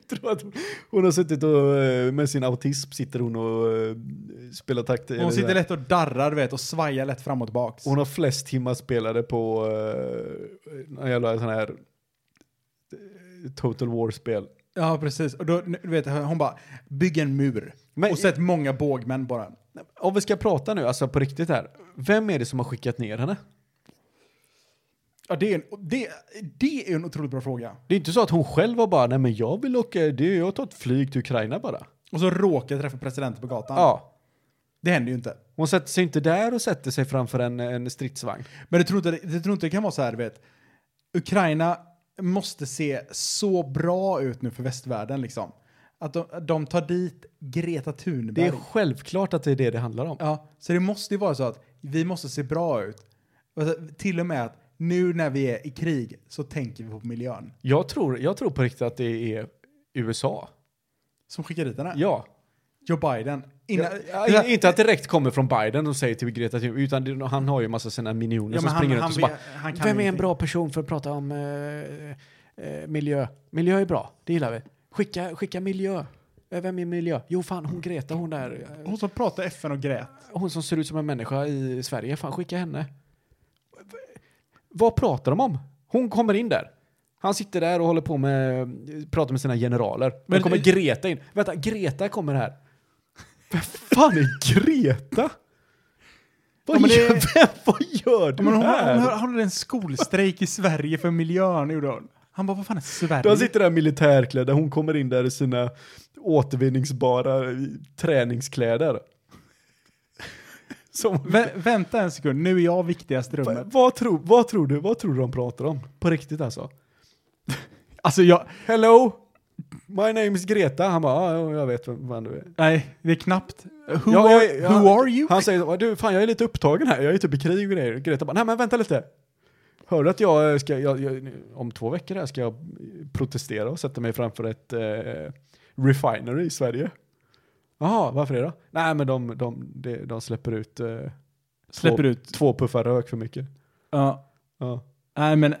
Jag (laughs) tror att hon har suttit och eh, med sin autism sitter hon och eh, spelar taktik. eller Hon sitter sådär. lätt och darrar du vet och svajar lätt fram och tillbaks. Hon har flest timmar spelade på eh, någon jävla sån här eh, Total War-spel. Ja, precis. Och då, du vet, hon bara, bygg en mur. Men- och sätt många bågmän bara. Om vi ska prata nu, alltså på riktigt här. Vem är det som har skickat ner henne? Ja, det är en, det, det är en otroligt bra fråga. Det är inte så att hon själv var bara, nej men jag vill åka, det, jag tar ett flyg till Ukraina bara. Och så råkar jag träffa presidenten på gatan. Ja. Det händer ju inte. Hon sätter sig inte där och sätter sig framför en, en stridsvagn. Men du tror inte, du tror inte det kan vara så här, du vet. Ukraina måste se så bra ut nu för västvärlden liksom. Att de, de tar dit Greta Det Thunberg. är självklart att det är det det handlar om. Ja, så det måste ju vara så att vi måste se bra ut. Alltså, till och med att nu när vi är i krig så tänker vi på miljön. Jag tror, jag tror på riktigt att det är USA. Som skickar dit den här. Ja. Joe Biden. Innan, Ja, ja, inte att det direkt kommer från Biden och säger till Greta Thunberg, utan det, han har ju massa sina miljoner Ja, som men han- springer han runt och så vet- bara, han kan vem är en ingenting." bra person för att prata om eh, eh, miljö? Miljö är bra, det gillar vi. Skicka, skicka miljö. Eh, Vem är miljö? Jo, fan, hon Greta, hon där, eh, Hon som pratar FN och grät. hon som ser ut som en människa i Sverige, fan skicka henne. Vad pratar de om? Hon kommer in där. Han sitter där och håller på med, pratar med sina generaler. Men kommer Greta in. Vänta, Greta kommer här. Vem fan är Greta? Vad, Ja, men det- gör, vem, vad gör du Men hon, här? hon, hon hade en skolstrejk i Sverige för miljön, gjorde hon. Han bara, vad fan är Sverige? De sitter där militärklädda, hon kommer in där i sina återvinningsbara eh, träningskläder. Som, Vä- vänta en sekund, nu är jag viktigast i rummet. vad, vad, tror, vad tror du vad tror du de pratar om? På riktigt alltså. Alltså jag, Hello, my name is Greta. Han bara, ah, jo, jag vet vem fan du är. nej, det är knappt. Who, Ja, are, jag- jag- who are you? Han säger, så, du fan jag är lite upptagen här, jag är typ i krig och grejer. Greta bara, nej men vänta lite. Hör du att jag eh, ska, jag, jag, om två veckor här ska jag protestera och sätta mig framför ett eh, refinery i Sverige. Jaha, varför det då? Nej men de, de, de, de släpper ut, eh, Släpper två, ut. två puffar rök för mycket. Ja, Ja. nej men,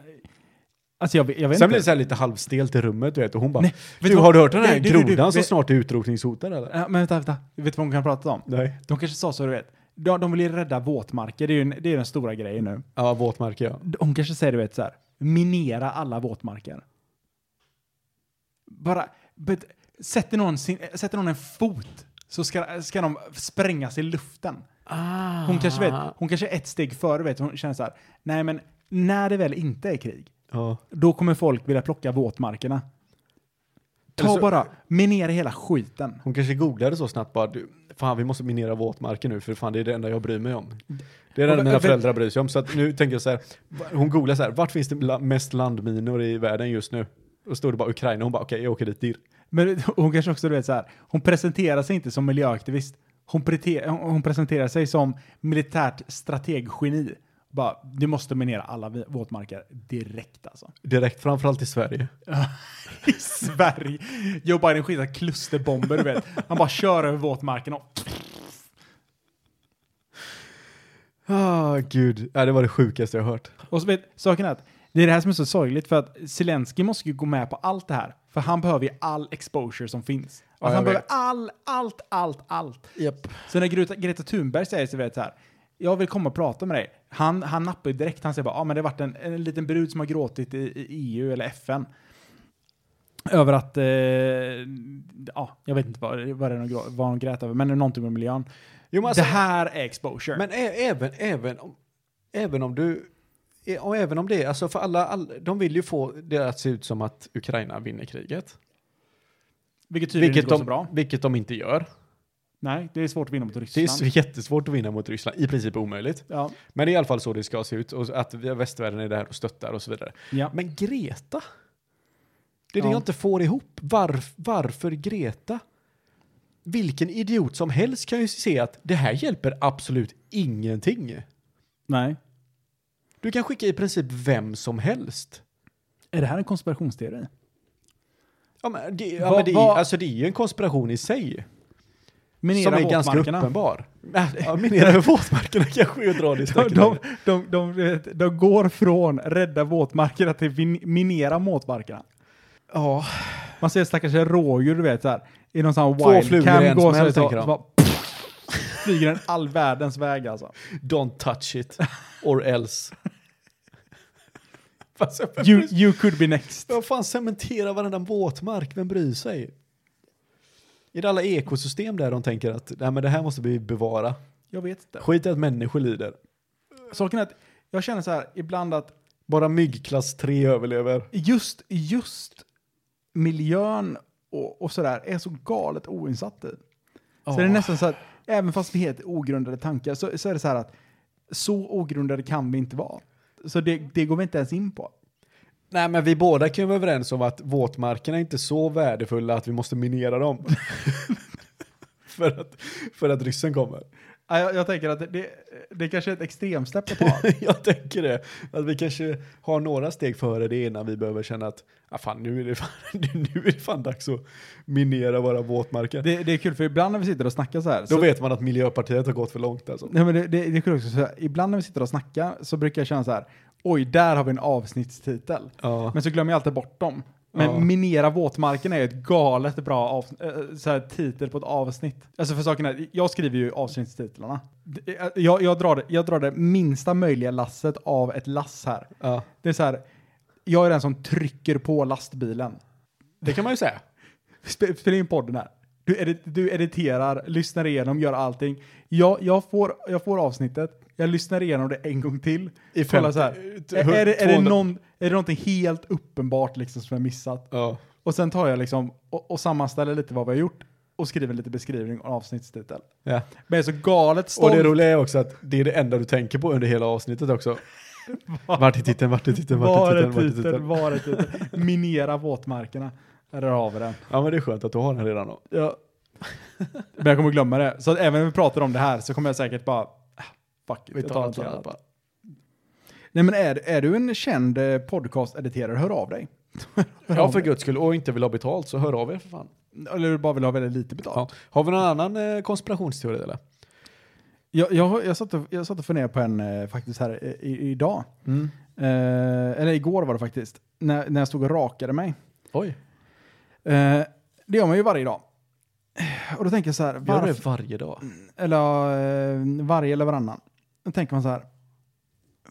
alltså jag, vet- jag vet Sen inte. blir det så här lite halvstelt i rummet du vet och hon bara, Nej, vet du vad- har du hört den här Nej, du, du, grodan du, som vet- snart är utrotningshotad eller? Ja, men vänta, vänta. Vet du vad hon kan prata om? Nej. De kanske sa så, du vet. De, de vill ju rädda våtmarker, det är ju en, det är ju den stora grejen nu. Ja, våtmarker ja. Hon kanske säger, du vet, så här. Minera alla våtmarker. Bara, bet, sätter, någon sin, sätter någon en fot så ska, ska de sprängas i luften. Ah. Hon kanske, vet, hon kanske är ett steg före, vet, hon känner så här, nej men när det väl inte är krig, ja. då kommer folk vilja plocka våtmarkerna. Ta Eller så- bara, minera hela skiten. Hon kanske googlade så snabbt bara, du, fan vi måste minera våtmarker nu för fan det är det enda jag bryr mig om. Det är Och- det enda mina och- föräldrar bryr sig om. Så att nu tänker jag så här, va- hon googlar så här, vart finns det la- mest landminor i världen just nu? Och stod det bara Ukraina, hon bara okej jag åker dit dirr. Men hon kanske också, du vet så här, hon presenterar sig inte som miljöaktivist. Hon, prete- hon presenterar sig som militärt strateggeni. Bara, du måste minera alla vi- våtmarker direkt alltså. (laughs) Direkt, framförallt till Sverige. I Sverige. Joe Biden skickar klusterbomber, du vet. Han bara kör över våtmarken och... Ah gud, ja, det var det sjukaste jag hört. Och så vet, saken är att det är det här som är så sorgligt för att Zelensky måste ju gå med på allt det här. För han behöver ju all exposure som finns. Ja, Alltså jag han behöver vet. all, allt, allt, allt. Yep. Så när Greta, Greta Thunberg säger så vet så här, jag vill komma och prata med dig. Han, han nappar ju direkt, han säger bara, ja ah, men det har varit en, en liten brud som har gråtit i, i EU eller FN. Över att, eh, ja, jag vet inte vad, vad, det är hon grå- vad hon grät över, men det är någonting med miljön. Jo, men, alltså, det här är exposure. men ä- även, även, om, även om du, ä- och även om det, alltså för alla, all, de vill ju få det att se ut som att Ukraina vinner kriget. vilket tydligen Vilket inte går så de, bra. vilket de inte gör. Nej, det är svårt att vinna mot Det är Ryssland. så jättesvårt att vinna mot Ryssland, i princip omöjligt. ja, Men det är i alla fall så det ska se ut och att vi- västvärlden är där och stöttar och så vidare. ja. Men Greta? Det är det Ja. jag inte får ihop. Varf, varför Greta? Vilken idiot som helst kan ju se att det här hjälper absolut ingenting. Nej. Du kan skicka i princip vem som helst. Är det här en konspirationsteori? Ja, men det, ja, Vad- men det, är- vad- alltså, det är ju en konspiration i sig. Minera som är ganska våtmarkerna. uppenbar. (laughs) Ja, minera över våtmarkerna kanske (laughs) och dra det De, strecket de, längre. de, de, du vet, de går från rädda våtmarkerna till vin- minera våtmarkerna. Ja, Man ser stackars rådjur, du vet, så här, i någon sån Två här flugor i en wildcam. Går smäll, så, så, tänker så de. bara, flyger den all världens väg alltså. Don't touch it, or else. (laughs) Fast jag vem You, bryr sig? you could be next. Vem fan cementerar varenda våtmark? Vem bryr sig? Är det alla ekosystem där de tänker att Nej, men det här måste vi bevara? Jag vet inte. Skit i att människor lider. Saken är att jag känner så här ibland att Bara myggklass 3 överlever. just, just miljön och, och sådär är så galet oinsatt i. Så det är nästan så att även fast vi heter ogrundade tankar så, så är det så här att så ogrundade kan vi inte vara. Så det, det går vi inte ens in på. Nej, men vi båda kan ju vara överens om att våtmarkerna är inte så värdefulla att vi måste minera dem. (laughs) för, att, för att ryssen kommer. Ja, Jag, jag tänker att det- det, det kanske är ett extremsläpp att (laughs) ta. (laughs) Jag tänker det. Att vi kanske har några steg före det innan vi behöver känna att ah, fan, nu, är det fan, (laughs) nu är det fan dags att minera våra våtmarker. det, det är kul för ibland när vi sitter och snackar så här. Då Så, vet man att Miljöpartiet har gått för långt alltså. nej, men det, det, det är kul också, så här, ibland när vi sitter och snackar så brukar jag känna så här. Oj, där har vi en avsnittstitel. Ja. Men så glömmer jag alltid bort dem. Men Ja. Minera våtmarken är ju ett galet bra av, eh, så här, titel på ett avsnitt. Alltså för saken är, jag skriver ju avsnittstitlarna. Det- eh, Jag, jag, drar, det- jag drar det minsta möjliga lasset av ett lass här. Ja. Det är så här, jag är den som trycker på lastbilen. Det kan man ju säga. Sp- Spela in podden här. Du, edit, du editerar, lyssnar igenom, gör allting. Jag, jag, får, jag får avsnittet, jag lyssnar igenom det en gång till. I Kolla femtio- eh, så här. t- Är, är, det, är, det 200 någon, är det någonting helt uppenbart liksom som jag missat? Ja. Och sen tar jag liksom och, och sammanställer lite vad vi har gjort och skriver lite beskrivning och avsnittstitel. ja. Men jag är så galet Och stolt. det roliga är också att det är det enda du tänker på under hela avsnittet (laughs) också. Vart är titeln, vart är titeln, vart Var är är titeln, vart är titeln? titeln? Var är titeln? Minera våtmarkerna. Där har vi den. Ja men det är skönt att du har den redan då. Ja. Men jag kommer glömma det. Så att även om vi pratar om det här så kommer jag säkert bara, "Ah, fuck it, Vi jag tar tar något något annat. annat bara. Nej men är, är du en känd eh, podcastediterare, hör av dig. Hör (laughs) Ja av för dig. guds skull, och inte vill ha betalt så hör av er för fan. Eller du bara vill ha väldigt lite betalt. Ja. Har vi någon annan eh, konspirationsteori eller? Jag, jag, jag, satt och, jag satt och funderade på en eh, faktiskt här eh, i, idag. Mm. Eh, eller igår var det faktiskt. När, när jag stod och rakade mig. Oj, Eh, det gör man ju varje dag. Och då tänker jag så här, gör varför, det varje dag? Mm. eller eh, varje eller varannan. Då tänker man så här,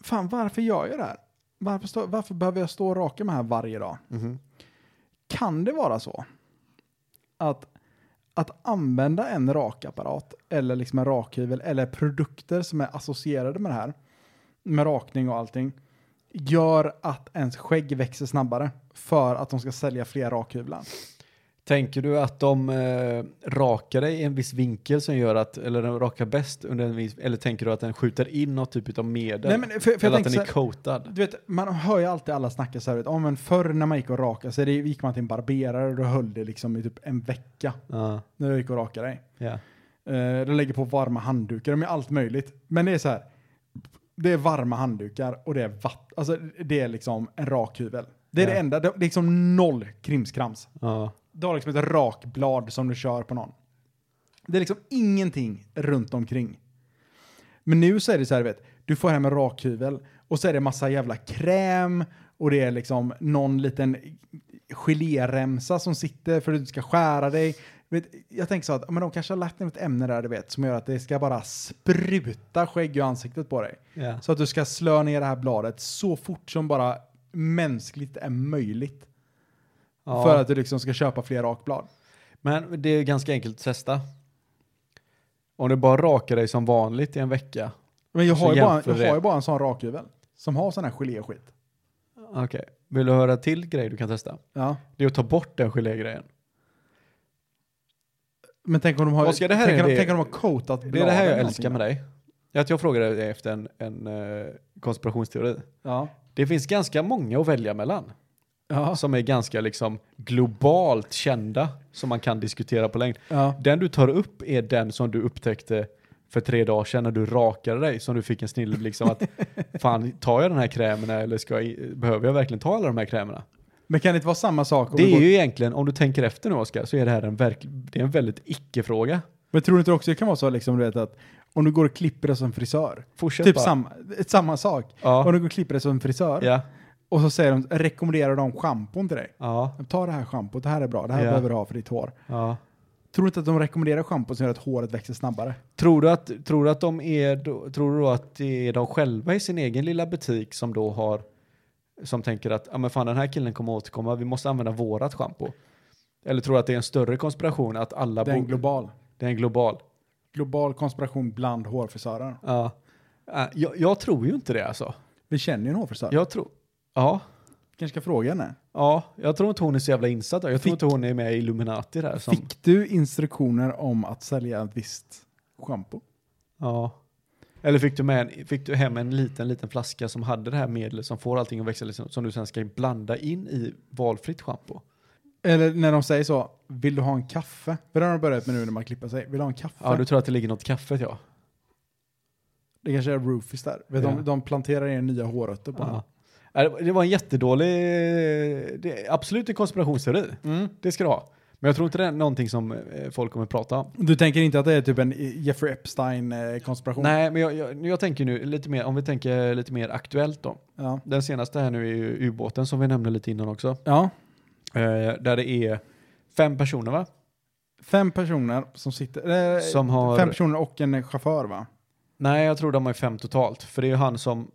fan varför gör jag det här? Varför, stå, varför behöver jag stå och raka mig här varje dag? Mhm. Kan det vara så att, att använda en rakapparat eller liksom en rakhyvel eller produkter som är associerade med det här, med rakning och allting, gör att ens skägg växer snabbare för att de ska sälja fler rakhyvlar? Tänker du att de eh, rakar dig i en viss vinkel som gör att, eller den rakar bäst under en viss, eller tänker du att den skjuter in något typ av medel? Nej, men för- för jag eller att tänker den är så coatad? Du vet, man hör ju alltid alla snacka så här, vet, om en förr när man gick och rakade sig, det gick man till en barberare och då höll det liksom i typ en vecka Ja, när du gick och rakade dig. ja. Eh, de lägger på varma handdukar, de är allt möjligt. Men det är så här, det är varma handdukar och det är vatten, alltså det är liksom en rak hyvel. Det är Ja. det enda, det det är liksom noll krimskrams. ja. Du har liksom ett rakblad som du kör på någon. Det är liksom ingenting runt omkring. Men nu så är det så här, vet, du får hem en rakhyvel och så är det massa jävla kräm och det är liksom någon liten geléremsa som sitter för att du ska skära dig. Du Vet, jag tänker så att men de kanske har lagt in ett ämne där du vet som gör att det ska bara spruta skägg i ansiktet på dig. ja. Så att du ska slö ner det här bladet så fort som bara mänskligt är möjligt. Ja. För att du liksom ska köpa fler rakblad. Men det är ganska enkelt att testa. Om du bara rakar dig som vanligt i en vecka. Men jag Så har, ju bara, jämför jag har Alltså, det. ju bara en sån rakhyvel. Som har sån här geléskit. Okej, vill du höra till grej du kan testa? Ja. Det är att ta bort den gelégrejen. Men tänk om de har, Oskar, det här tänk är om, det- tänk om de har coatat Det är det här jag bladen älskar med någonting. dig. Att jag frågade dig efter en, en eh, konspirationsteori. Ja. Det finns ganska många att välja mellan. Ja. Som är ganska liksom globalt kända. Som man kan diskutera på längd. ja. Den du tar upp är den som du upptäckte för tre dagar sedan när du rakade dig. Som du fick en snilleblixt (laughs) som att fan tar jag den här krämen eller ska jag, i- behöver jag verkligen ta alla de här krämerna? Men kan det inte vara samma sak? Om Det du är går, ju egentligen, om du tänker efter nu Oskar, så är det här en, verk, det är en väldigt icke-fråga. Men tror du inte också det kan vara så liksom, du vet, att om du går och klipper dig som frisör. Fortsätt Typ bara. samma, ett- samma sak. Ja. Om du går och klipper dig som frisör. Ja. Och så säger de, rekommenderar de schampon till dig. Ja. Ta det här schampot, det här är bra, det här Ja. behöver du ha för ditt hår. ja. Tror du inte att de rekommenderar schampo som gör att håret växer snabbare? Tror du att, tror du att de är, då- tror du då att det är de själva i sin egen lilla butik som då har, som tänker att, ja men fan den här killen kommer återkomma, vi måste använda vårat schampo. Eller tror du att det är en större konspiration att alla Det är en bo- global, det är en global. global konspiration bland hårfrisörer. Ja. Äh, Jag, jag tror ju inte det alltså. Vi känner ju en hårfrisör. Jag tror, ja, kanske ska fråga henne. ja, jag tror inte hon är så jävla insatt. Jag Fick- tror inte hon är med i Illuminati där. Som, Fick du instruktioner om att sälja ett visst schampo? Ja. Eller fick du, med en, fick du hem en liten, liten flaska som hade det här medlet som får allting att växa, liksom, som du sen ska blanda in i valfritt schampo? Eller när de säger så, vill du ha en kaffe? För det har de börjat med nu när man klipper sig. Vill du ha en kaffe? Ja, du tror att det ligger något i kaffet ja. Det kanske är Rufus där. Vet Ja. De, de planterar in nya hårrötter på honom. ja. Nej, det- Det var en jättedålig, det, är absolut en konspirationsteori. Mm. Det ska du ha. Men jag tror inte det är någonting som eh, folk kommer prata om. Du tänker inte att det är typ en Jeffrey eh, Epstein-konspiration? Nej, men jag, jag, jag tänker nu lite mer, om vi tänker lite mer aktuellt då. Ja. Den senaste här nu är ju ubåten som vi nämnde lite innan också. ja. Eh, där det är fem personer va? Fem personer som sitter... Eh, Som har- Fem personer och en chaufför va? Nej, jag tror de är fem totalt. För det är ju han som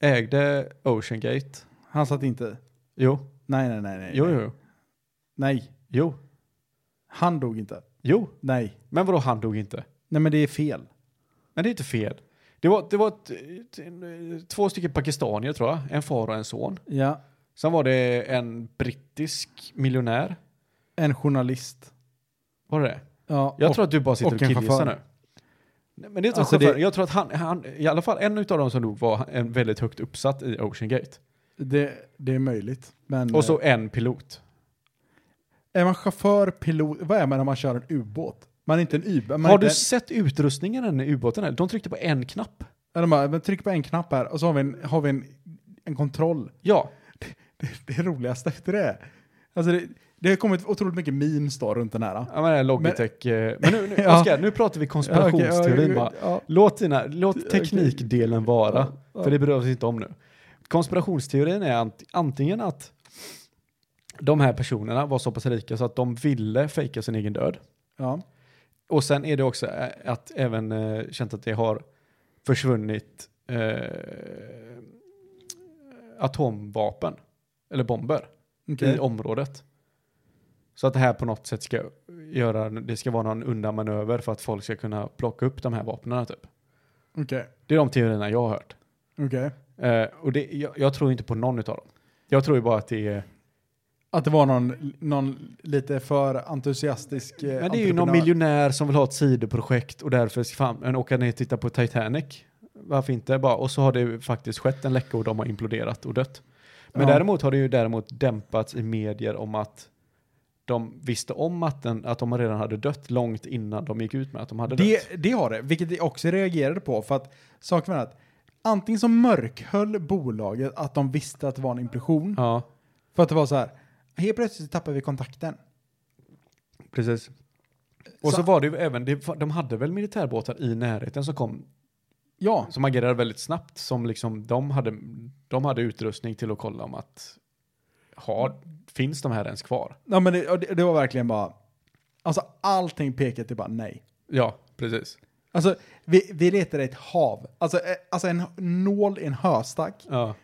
ägde Ocean Gate. Han satt inte i. Jo, Nej, nej, nej. nej jo, nej. jo, jo. nej. Jo, Han dog inte. jo. Nej. Men vadå, han dog inte? Nej, men det är fel. Nej, det är inte fel. Det var, det var ett, ett, en- två stycken pakistanier tror jag, en far och en son. Ja. Sen var det en brittisk miljonär. En journalist. Var det det? Ja, Jag och- tror att du bara sitter och och, en killgissar chaufför. nu. Nej, men det är inte Alltså, alltså, det... det- Jag tror att han, han, i alla fall en av dem som dog var en väldigt högt uppsatt i Ocean Gate. det, det är möjligt. Men, Och så en pilot. eh, är man chaufför, pilot, vad är man när man kör en ubåt? Man är inte en ubåt. Har du sett utrustningen i den ubåten? här? De tryckte på en knapp. Eller bara, men tryck på en knapp här och så har vi en, har vi en, en kontroll. (laughs) Ja, Det, det är roligaste efter det. Alltså det, det har kommit otroligt mycket memes då runt den här. ja, men det är Logitech. eh, (laughs) Men nu, nu, Ja. Oskar, nu pratar vi konspirationsteorin bara. ja, Låt, dina, låt teknikdelen vara, ja. för det berör oss inte om nu. Konspirationsteorin är ant- antingen att de här personerna var så pass rika så att de ville fejka sin egen död. ja. Och sen är det också eh, att även eh, känt att det har försvunnit eh, atomvapen eller bomber i okej. området. Så att det här på något sätt ska göra, det ska vara någon undanmanöver för att folk ska kunna plocka upp de här vapnen typ. Okej, Det är de teorierna jag har hört. okej. Eh, och det, jag, jag tror inte på någon av dem. Jag tror ju bara att det är, Att det var någon, någon lite för entusiastisk eh, men det är ju någon entreprenör. miljonär som vill ha ett sidoprojekt och därför ska fan, men åka ner och titta på Titanic. Varför inte? Bara, och så har det ju faktiskt skett en läcka och de har imploderat och dött. Men Ja. däremot har det ju däremot dämpats i medier om att de visste om att, den, att de redan hade dött långt innan de gick ut med att de hade dött. Det, det har det, vilket jag också reagerade på. För att saken var att antingen så mörkhöll bolaget att de visste att det var en implosion. Ja, För att det var så här, helt plötsligt tappar vi kontakten. precis. Och så, Så- var det ju även, det, de hade väl militärbåtar i närheten som kom Ja, som agerade väldigt snabbt som liksom de hade, de hade utrustning till att kolla om att har, finns de här ens kvar? ja men det, och det, det var verkligen bara, alltså allting pekade till bara nej. Ja, precis. Alltså vi, vi letar i ett hav, alltså, eh, alltså en nål i en höstack. Ja,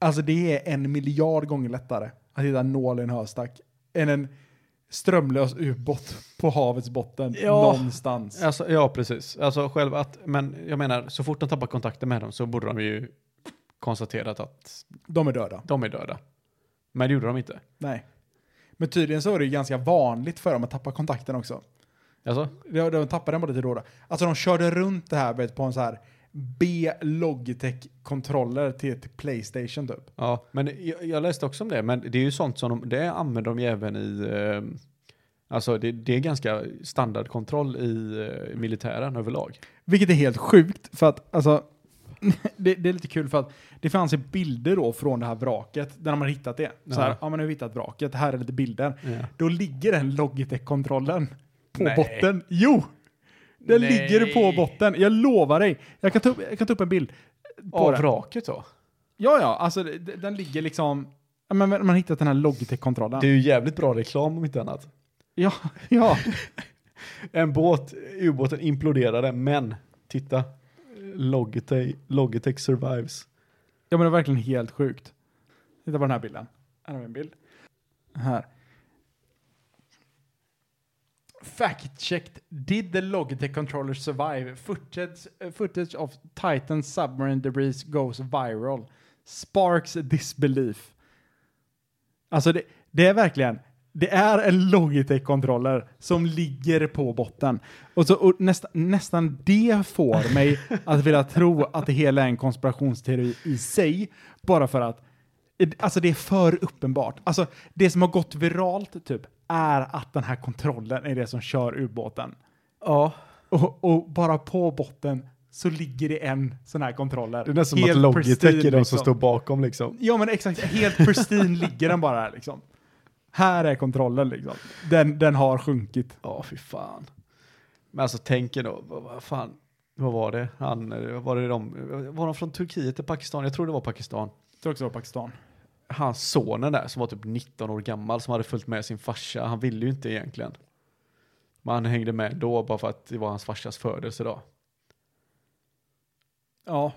Alltså det är en miljard gånger lättare att hitta en nål i en höstack än en strömlös ubåt på havets botten Ja. någonstans. alltså, ja precis. Alltså själv att, men jag menar, så fort de tappar kontakten med dem så borde de ju konstaterat att De är döda. de är döda. Men det gjorde de inte. Nej. Men tydligen så är det ju ganska vanligt för dem att tappa kontakten också. Alltså, De, de tappade den både till råda. Alltså de körde runt det här vet, på en så här B Logitech-kontroller till, till Playstation typ. ja, men jag, jag läste också om det, men det är ju sånt som de, det använder de ju även i, eh, alltså det, det är ganska standardkontroll i eh, militären överlag. Vilket är helt sjukt för att alltså (laughs) det, det är lite kul för att det fanns ju bilder då från det här vraket där de har hittat det. Så här, Ja. ja, men nu har vi hittat vraket, här är lite bilder. Då ligger den Logitech-kontrollen på Nej. botten. Jo! Den Nej. ligger på botten, jag lovar dig. Jag kan ta upp, jag kan ta upp en bild. på Av den. vraket då? Ja, ja, alltså det- det- den ligger liksom... ja, Men man har hittat den här Logitech-kontrollen. Det är ju jävligt bra reklam om inte annat. Ja, ja. En båt, ubåten imploderade, men titta. Logitech, Logitech survives. ja, men det är verkligen helt sjukt. Titta på den här bilden. Här har vi en bild. Här. Fact checked. Did the Logitech controller survive? Footage, eh, footage of Titan submarine debris goes viral. Sparks disbelief. Alltså det, det är verkligen, det är en Logitech-kontroller som ligger på botten. Och, så, och nästan, nästan det får (laughs) mig att vilja tro att det hela är en konspirationsteori i sig, bara för att Alltså det är för uppenbart. Alltså det som har gått viralt typ är att den här kontrollen är det som kör ubåten. Ja. Och, och bara på botten så ligger det en sån här kontroller. Det är nästan som Helt att Logitech är de pristine, som liksom. står bakom liksom. Ja men exakt, helt pristine ligger den bara här liksom. Här är kontrollen liksom. Den, den har sjunkit. Ja, fy fan. Men alltså tänk er då, vad, vad fan, vad var det? Han, eh, var det de, var de från Turkiet eller Pakistan? Jag tror det var Pakistan. Jag tror också det var Pakistan. Hans sonen där som var typ 19 år gammal som hade följt med sin farsa, han ville ju inte egentligen. Men han hängde med då bara för att det var hans farsas födelsedag. Ja.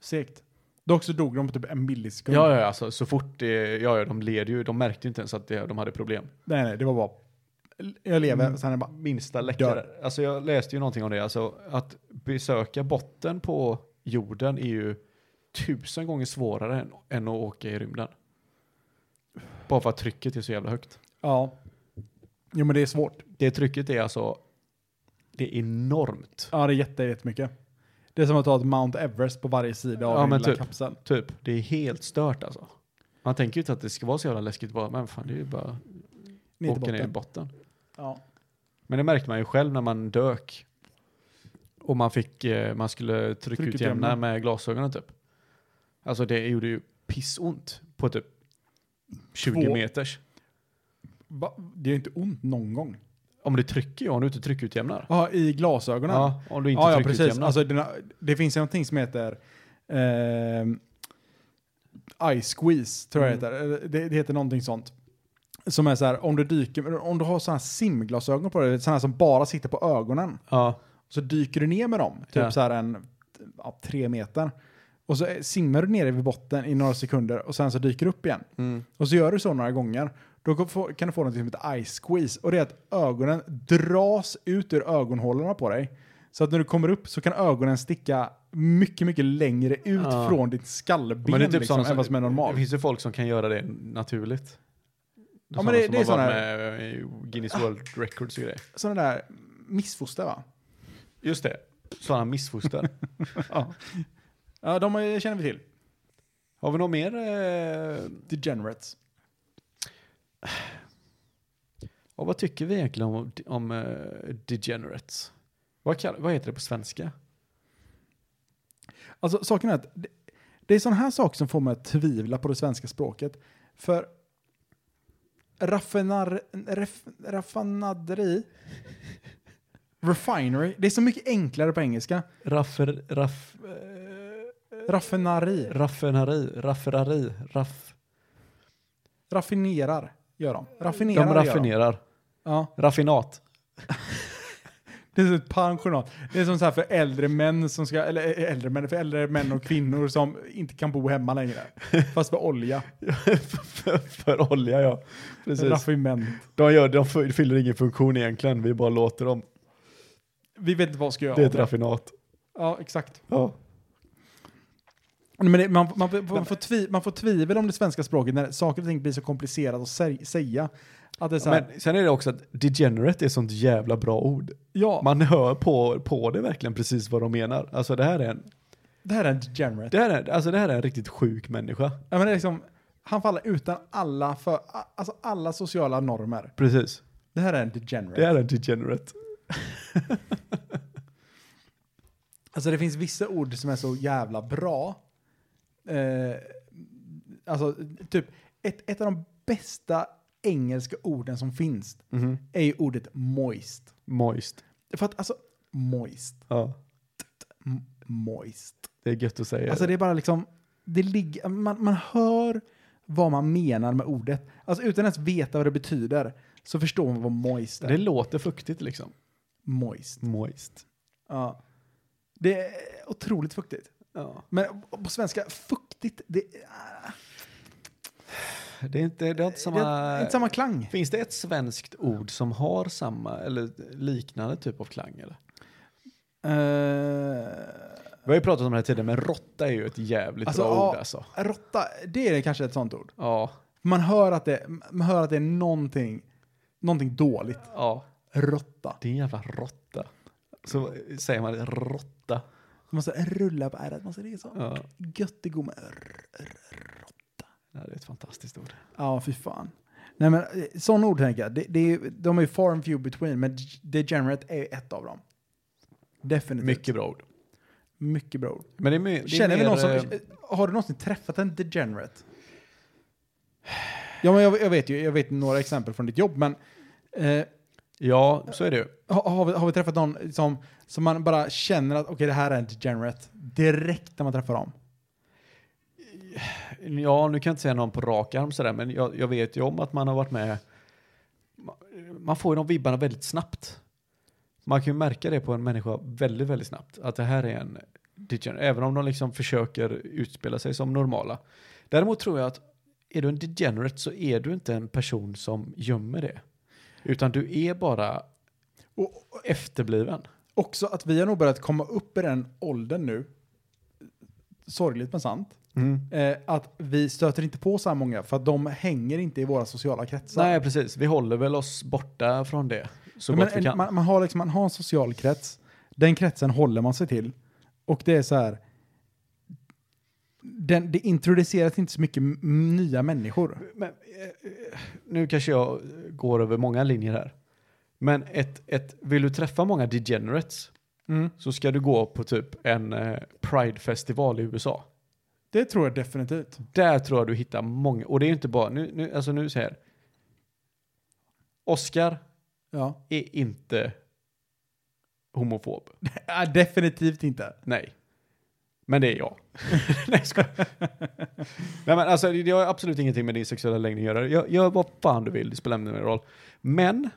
Segt. Dock så dog de på typ en millisekund. Ja, ja, ja, alltså så fort det, ja, ja, de led ju, de märkte ju inte ens att det, de hade problem. Nej, nej, det var bara... Jag lever, Mm. sen är det bara... Minsta läckare. Alltså jag läste ju någonting om det, alltså att besöka botten på jorden är ju tusen gånger svårare än, än att åka i rymden. Bara för att trycket är så jävla högt. Ja. Jo, men det är svårt. Det trycket är alltså, det är enormt. Ja, det är jätte, jättemycket. Det är som att ta ett Mount Everest på varje sida av Ja, den men lilla typ. kapseln. Typ, det är helt stört alltså. Man tänker ju inte att det ska vara så jävla läskigt bara, men fan det är ju bara Ner till åka ner i botten. botten. Ja. Men det märkte man ju själv när man dök. Och man fick, eh, man skulle tryckutjämna Tryckutjämna. med glasögonen typ. Alltså det gjorde ju pissont på typ 20 Två. meters. Va? Det är ju inte ont någon gång. Om du trycker ju, om du inte tryckutjämnar. Ja, i glasögonen. Ja, om du inte ja, ja precis. tryckutjämnar. Alltså, den, det finns ju någonting som heter eh, Ice Squeeze, tror jag Mm. det heter. Eh, Det, det heter någonting sånt. Som är så här, om du dyker, om du har sådana här simglasögon på dig, sådana som bara sitter på ögonen, ja. så dyker du ner med dem, typ Ja. så här en, ja, tre meter. Och så eh, simmar du nere vid botten i några sekunder och sen så dyker du upp igen. Och så gör du så några gånger. Då kan få- kan du få något som heter ice squeeze. Och det är att ögonen dras ut ur ögonhålorna på dig. Så att när du kommer upp så kan ögonen sticka mycket, mycket längre ut Ja. från ditt skallben. Men det är typ liksom, sådana än vad som är Det normalt. finns ju folk som kan göra det naturligt. Ja, men det- som det är har varit såna med i Guinness World Records och grejer. Sådana där missfoster va? Just det, (laughs) sådana missfoster. Ja, de eh, känner vi till. Har vi något mer? Eh, Degenerates. och vad tycker vi egentligen om, om eh, degenerates? Vad, kall, vad heter det på svenska? Alltså saken är att det, det är sådana här saker som får mig att tvivla på det svenska språket. För raffinar, ref, raffinaderi, refinery, det är så mycket enklare på engelska. Raffer, raff, eh, Raffinari, raffineri, raffineri, raff. raffinerar gör de. Raffinerar De Gör raffinerar. de. Ja, Raffinat. det är så ett pensionat. Det är som så här för äldre män som ska, eller ä- äldre män, för äldre män och kvinnor som inte kan bo hemma längre. Fast för olja. för, (laughs) för olja ja. Precis. Raffinment. De, gör, de f- fyller ingen funktion egentligen, vi bara låter dem. Vi vet inte vad vi ska göra Det är av ett raffinat. Ja, exakt. Ja. Nej, Men det, man, man, man, får tvi, man får tvivel om det svenska språket när saker och ting blir så komplicerat att sä- säga. Att det är så här, Men sen är det också att degenerate är ett sånt jävla bra ord. ja, Man hör på, på det verkligen precis vad de menar. Alltså det här är en, det här är en degenerate. det här är, alltså det här är en riktigt sjuk människa. ja, men det är liksom, han faller utan alla, för, a- alltså alla sociala normer. Precis. Det här är en degenerate. Det är en degenerate. Alltså det finns vissa ord som är så jävla bra. Eh, alltså typ, ett, ett av de bästa engelska orden som finns Mm-hmm. är ju ordet moist. Moist. För att alltså, moist, Ja. m- moist. Det är gött att säga. Alltså det är bara liksom, det ligger, man, man hör vad man menar med ordet. Alltså utan ens veta vad det betyder så förstår man vad moist är. det låter fuktigt liksom. moist. Moist. Ja. Det är otroligt fuktigt. Ja. Men på svenska, fuktigt, det, Det är inte, det har inte samma... det är inte samma klang. Finns det ett svenskt ord som har samma eller liknande typ av klang eller? Vi har ju pratat om det här tidigare, men råtta är ju ett jävligt Alltså, bra ja. ord alltså. Eh, råtta, det är kanske ett sånt ord. Ja. Man hör att det, man hör att det är någonting, någonting dåligt. Ja. Råtta. Det är en jävla råtta. Så säger man råtta. Man måste rulla på ärret, man måste ligga så. Ja. Gött det går med Ja, det är ett fantastiskt ord. Ja, fy fan. Nej, men eh, sådana ord tänker jag. Det, det är, de är ju far and few between, men degenerate är ju ett av dem. Definitivt. Mycket bra ord. Mycket bra ord. Men det är, my, det Känner är vi mer, någon som, eh, eh, har du någonsin träffat en degenerate? Ja, men jag, jag vet ju, jag vet några exempel från ditt jobb, men eh, Ja, så är det ju. har, har, vi, har vi träffat någon som, som man bara känner att okej, det här är en degenerate direkt när man träffar dem? Ja, nu kan jag inte säga någon på rak arm sådär, men jag, jag vet ju om att man har varit med. ma- Man får ju de vibbarna väldigt snabbt. Man kan ju märka det på en människa väldigt, väldigt snabbt. Att det här är en degener- även om de liksom försöker utspela sig som normala. Däremot tror jag att är du en degenerate så är du inte en person som gömmer det. Utan du är bara Och efterbliven. också att vi har nog börjat komma upp i den åldern nu, sorgligt men sant, eh, att vi stöter inte på så här många för att de hänger inte i våra sociala kretsar. Nej, precis. Vi håller väl oss borta från det så men, gott vi en- kan. Man, man, har liksom, man har en social krets, den kretsen håller man sig till och det är så här, den, det introduceras inte så mycket m- nya människor. Men, eh, eh, nu kanske jag går över många linjer här. Men ett, ett, vill du träffa många degenerates så ska du gå på typ en eh, Pride-festival i USA. Det tror jag definitivt. Där tror jag du hittar många, och det är ju inte bara, nu, nu, alltså nu så här. Oscar Ja. (laughs) är inte homofob. Ja, definitivt inte. Nej. Men det är jag. (laughs) Nej, jag skojar. Nej, men alltså, det det har absolut ingenting med din sexuella läggning att göra. Gör, gör vad fan du vill, det spelar ingen roll. Men,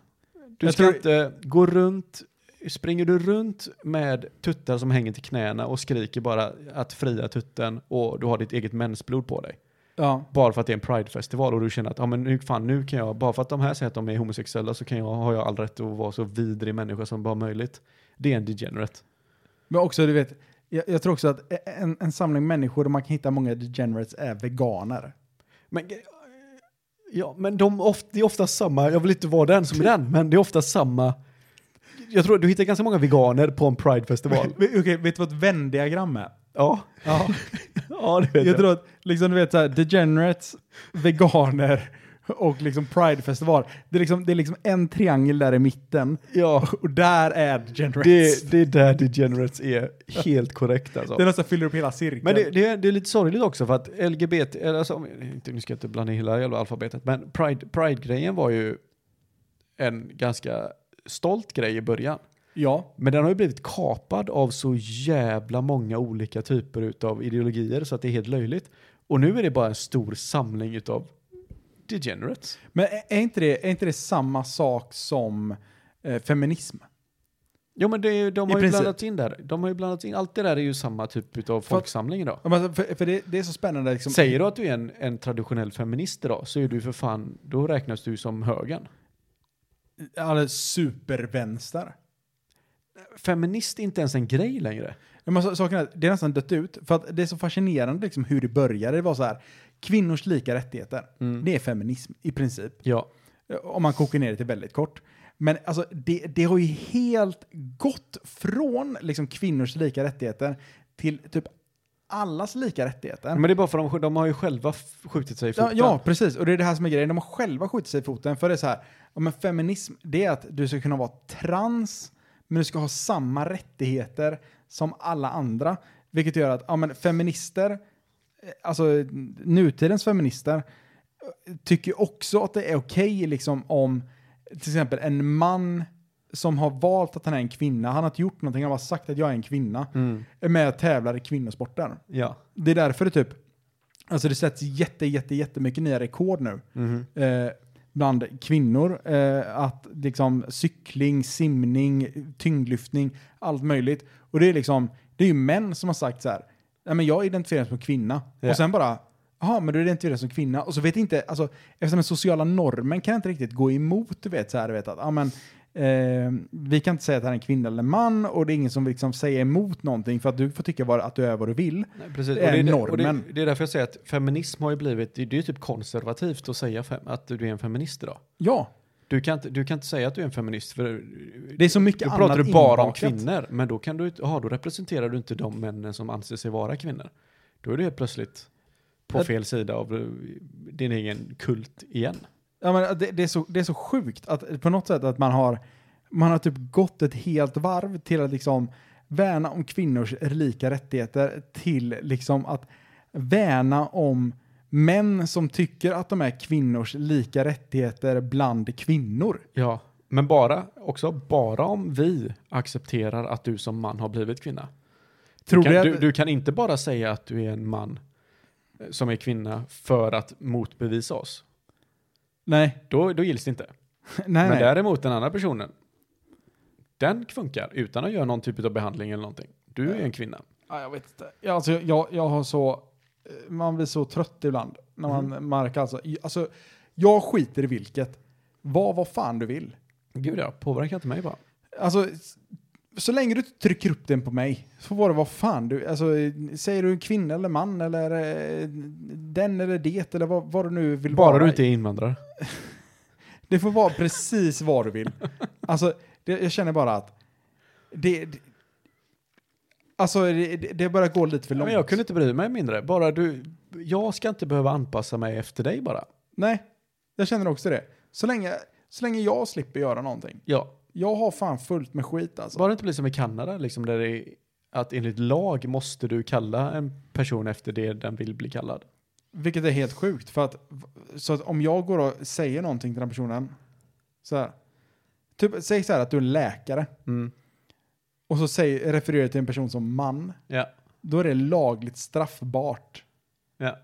du Jag ska tror- inte gå runt, springer du runt med tuttar som hänger till knäna och skriker bara att fria tutten och du har ditt eget mensblod på dig. Ja. Bara för att det är en pridefestival och du känner att ja, men nu, fan, nu kan jag, bara för att de här säger att de är homosexuella så kan jag, har jag all rätt att vara så vidrig människa som bara möjligt. Det är en degenerate. Men också, du vet, jag, jag tror också att e, en, en samling människor där man kan hitta många degenerates är veganer. Men, eh, ja, men de of, det är ofta samma, jag vill inte vara den som är den, men det är ofta samma. Jag tror du hittar ganska många veganer på en pridefestival. Okej, vet du vad ett vändiagram är? Ja, Ja, ja det (laughs) vet jag jag. tror att liksom, du vet så här, degenerates, veganer och liksom pridefestival. Det är liksom, det är liksom en triangel där i mitten Ja, och där är degenerates. det, det är där degenerates är helt korrekt alltså. Det nästan fyller upp hela cirkeln. Men det, det, är, det är lite sorgligt också för att LGBT, eller alltså, om- inte, nu ska jag inte blanda in hela jävla alfabetet, men Pride- Pride-grejen var ju en ganska stolt grej i början. ja. Men den har ju blivit kapad av så jävla många olika typer utav ideologier så att det är helt löjligt. Och nu är det bara en stor samling utav degenerates. Men är- är inte, det, är inte det samma sak som eh, feminism? Ja men det är, ju- de I har ju princip. blandats in där. De har ju blandats in, allt det där är ju samma typ utav folksamling idag. Ja, men Alltså, För, för det, det är så spännande. Liksom, Säger du att du är en, en traditionell feminist idag så är du för fan, då räknas du som högern. Alla supervänster. Feminist är inte ens en grej längre. Ja, Men så- saken är, att det är nästan dött ut. För att det är så fascinerande liksom, hur det började. Det var så här, kvinnors lika rättigheter, det är feminism i princip. Ja. Om man kokar ner det till väldigt kort. Men alltså, det, det har ju helt gått från liksom, kvinnors lika rättigheter till typ allas lika rättigheter. Men det är bara för att de, de har ju själva f- skjutit sig i Ja, foten. ja, precis. Och det är det här som är grejen. De har själva skjutit sig i foten. För det är så här, ja, men feminism, det är att du ska kunna vara trans, men du ska ha samma rättigheter som alla andra. Vilket gör att ja, men feminister, eh, alltså nutidens feminister, eh, tycker också att det är okej liksom, om till exempel en man som har valt att han är en kvinna, han har inte gjort någonting, han har bara sagt att jag är en kvinna, är med och tävlar i kvinnosporter. Mm. Ja. Det är därför det typ, alltså det sätts jätte, jätte, jättemycket nya rekord nu. Mm-hmm. Eh, bland kvinnor. Eh, att liksom cykling, simning, tyngdlyftning, allt möjligt. Och det är liksom, det är ju män som har sagt så här, nej men jag identifierar mig som kvinna. Ja. Och sen bara, jaha men du identifierar dig som kvinna. Och så vet inte, alltså eftersom den sociala normen kan inte riktigt gå emot, du vet så här, du vet att, ja men, Eh, vi kan inte säga att han är en kvinna eller en man och det är ingen som liksom säger emot någonting för att du får tycka vad, att du är vad du vill. Nej, precis. Det är och det, normen. Och det, det är därför jag säger att feminism har ju blivit, det, det är ju typ konservativt att säga fem, att du är en feminist idag. Ja, Du kan, inte, du kan inte säga att du är en feminist för det är så mycket då annat pratar du bara om inbakat. kvinnor, men då, kan du, inte- aha, då representerar du inte de männen som anser sig vara kvinnor. Då är du helt plötsligt på Jag- fel sida av eh, din egen kult igen. Ja, men det, det, är så, det är så sjukt att på något sätt att man har, man har typ gått ett helt varv till att liksom värna om kvinnors lika rättigheter till liksom att värna om män som tycker att de är kvinnors lika rättigheter bland kvinnor. Ja, men bara, också bara om vi accepterar att du som man har blivit kvinna. Tror du, du kan, att- du, du kan inte bara säga att du är en man eh, som är kvinna för att motbevisa oss. Nej, (laughs) Då, då gills det inte. nej, Men nej. däremot den andra personen, den funkar utan att göra någon typ av behandling eller någonting. Du är en kvinna. Ja, jag vet inte. Ja, Alltså, jag, jag har så... eh, Man blir så trött ibland när man märker alltså. i- Alltså, jag skiter i vilket. Var vad fan du vill. Gud ja, påverkar inte mig bara. Alltså, s- så länge du inte trycker upp den på mig så får det vad fan du... Alltså, eh, säger du kvinna eller man eller eh, den eller det eller vad, vad du nu vill Bara vara. du inte är invandrare. Det får vara precis vad du (laughs) vill. Alltså, det, jag känner bara att det... det alltså, det, det det börjar gå lite för Ja, långt. men jag kunde inte bry mig mindre. Bara du, jag ska inte behöva anpassa mig efter dig bara. Nej, jag känner också det. Så länge, så länge jag slipper göra någonting. Ja, Jag har fan fullt med skit alltså. bara det inte blir som i Kanada, liksom där det är att enligt lag måste du kalla en person efter det den vill bli kallad. Vilket är helt sjukt. För att, så att om jag går och säger någonting till den personen. Så här, typ, säg så här att du är läkare. Mm. Och så säg, refererar du till en person som man. Ja. Då är det lagligt straffbart. Ja.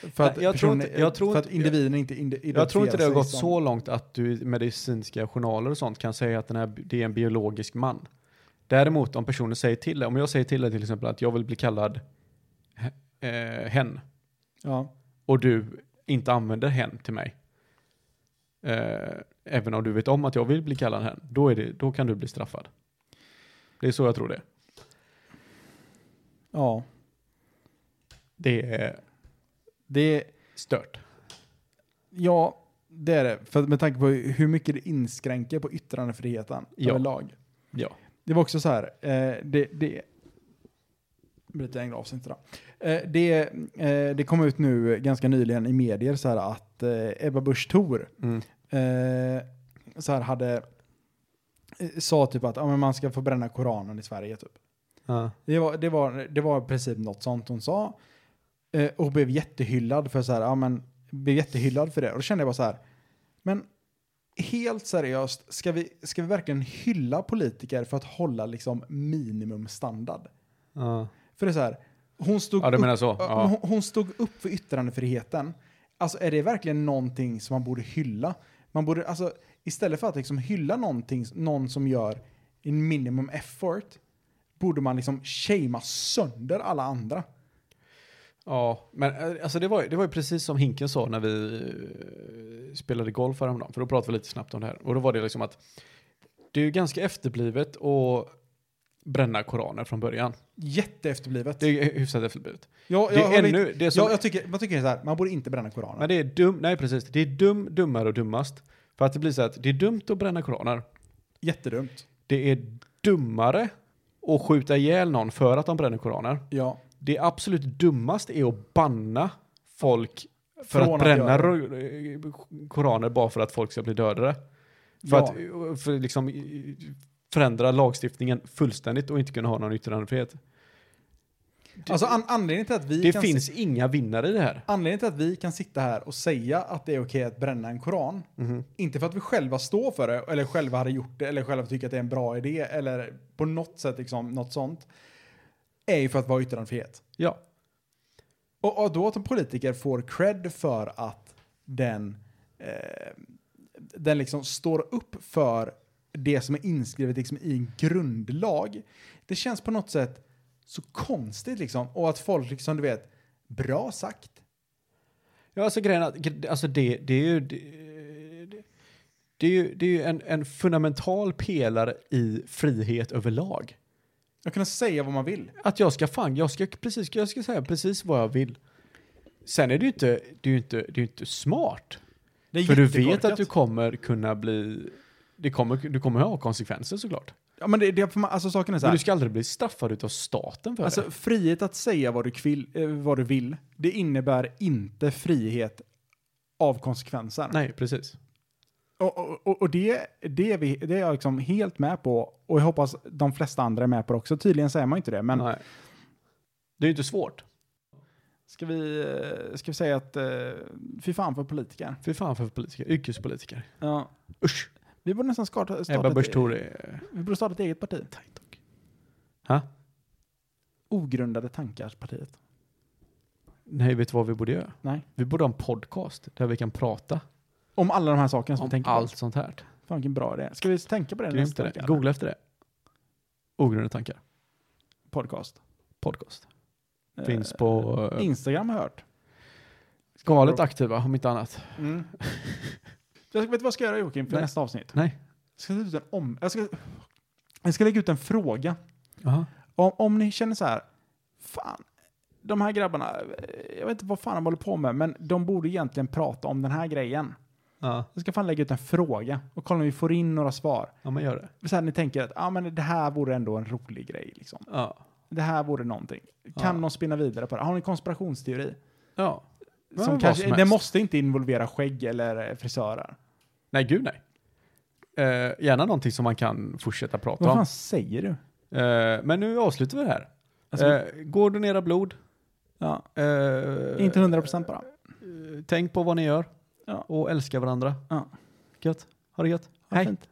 För Nej, att, jag tror personen- inte- jag tror för att inte- individen inte inde- identifierar Jag tror inte det har sig gått som- så långt att du i medicinska journaler och sånt kan säga att den här, det är en biologisk man. Däremot om personen säger till dig, om jag säger till dig till exempel att jag vill bli kallad he- eh, hen Ja. och du inte använder hen till mig. Eh, även om du vet om att jag vill bli kallad hen, då, är det, då kan du bli straffad. Det är så jag tror det är. ja. Det är Det stört. Ja, det är det. För med tanke på hur mycket det inskränker på yttrandefriheten Ja. överlag. Ja. Det var också så här, eh, det... det bryter jag en glas inte då. Eh, det, eh, det kom ut nu ganska nyligen i medier så här att eh, Ebba Busch Thor Mm. eh, så här hade eh, sa typ att ja, men man ska få bränna Koranen i Sverige typ. Ja. Det var, det var, det var i princip något sånt hon sa. Eh, och blev jättehyllad för så här, ja men, blev jättehyllad för det. Och då kände jag bara så här, men helt seriöst, ska vi, ska vi verkligen hylla politiker för att hålla liksom minimumstandard? Ja. För det är så här, hon stod, ja, du menar upp, så? ja. Ja. hon, hon stod upp för yttrandefriheten. Alltså är det verkligen någonting som man borde hylla? Man borde, alltså istället för att liksom hylla någonting, någon som gör en minimum effort, borde man liksom shamea sönder alla andra. ja. Men eh, alltså, det, var, ju- det var ju precis som Hinken sa när vi eh, spelade golf häromdagen, för då pratade vi lite snabbt om det här. Och då var det liksom att det är ju ganska efterblivet att bränna koraner från början. Jätteefterblivet. Det är hyfsat efterblivet. jag, det är håller ännu- inte- det är som- jag, jag tycker, man tycker det är så här, man borde inte bränna Koranen. Men det är dum, nej precis, det är dum, dummare och dummast. För att det blir så att det är dumt att bränna koraner. Jättedumt. Det är dummare att skjuta ihjäl någon för att de bränner koraner. Ja. Det absolut dummaste är att banna folk för Från att att bränna göra ro- eh, koraner bara för att folk ska bli dödade. För Ja. att för liksom förändra lagstiftningen fullständigt och inte kunna ha någon yttrandefrihet. Det, Alltså an, anledningen till att vi det kan finns inga vinnare i det här. Anledningen till att vi kan sitta här och säga att det är okej att bränna en koran, Mhm. inte för att vi själva står för det, eller själva hade gjort det, eller själva tycker att det är en bra idé, eller på något sätt liksom, något sånt, är ju för att vara yttrandefrihet. Ja. Och, och då att en politiker får cred för att den, eh, den liksom står upp för det som är inskrivet liksom i en grundlag. Det känns på något sätt så konstigt liksom. Och att folk liksom, du vet, bra sagt. Ja, alltså grejen är att, gre- alltså det, det är ju, det, det- det är ju, det är ju en, en fundamental pelare i frihet överlag. Jag kunna säga vad man vill. Att jag ska fan, jag ska precis, jag ska säga precis vad jag vill. Sen är det ju inte, det är ju inte, det är ju inte smart. Det är För du vet jättekorkat. att du kommer kunna bli, det kommer, du kommer ha konsekvenser såklart. Ja, men det, det, för man- alltså saken är så Men här. du ska aldrig bli straffad utav staten för det. Alltså frihet att säga vad du, kvill, eh, vad du vill, det innebär inte frihet av konsekvenser. Nej, precis. Och, och- och, och det, det, är vi, det är jag liksom helt med på. Och jag hoppas de flesta andra är med på det också. Tydligen säger man inte det, men Nej. Det är ju inte svårt. ska, vi, eh, ska vi säga att eh, fy fan för politiker. Fy fan för politiker, yrkespolitiker. Ja. Usch! Vi borde nästan starta, starta, Ebba Busch ett, e- Thor är... vi borde starta ett eget parti. Ha? Ogrundade tankars-partiet. Nej, vet du vad vi borde göra? Nej. Vi borde ha en podcast där vi kan prata Om alla de här sakerna som vi om tänker allt sånt här. på. Fan vilken bra idé. Ska vi tänka på det Grymt nästa är vecka? det. Googla efter det. Ogrundade tankar. podcast. podcast. Finns på eh, Instagram har jag hört. galet aktiva om inte annat. Mm. jag vet du vad jag ska göra Joakim för Nej. nästa avsnitt? Nej. Jag ska, lägga ut en om, jag, ska, jag ska lägga ut en fråga. Aha. Om, om ni känner så här, fan, de här grabbarna, eh, jag vet inte vad fan de håller på med, men de borde egentligen prata om den här grejen. Ja. Jag ska fan lägga ut en fråga och kolla om vi får in några svar. ja, men gör det. Så här, ni tänker att ah, men det här vore ändå en rolig grej. Liksom. Ja. Det här vore någonting. Kan Ja. någon spinna vidare på det? Har ni en konspirationsteori? ja. Ja, Som vad kanske, som det helst. måste inte involvera skägg eller eh, frisörer. Nej, gud nej. Eh, gärna någonting som man kan fortsätta prata Vad om. fan säger du? Eh, men nu avslutar vi det här. Alltså- eh, gå och donera blod. Ja. Eh, Inte 100 procent bara. Tänk på vad ni gör. Ja. Och älska varandra. Ja. Gött. Ha det gött. Hej. Hej. Fint.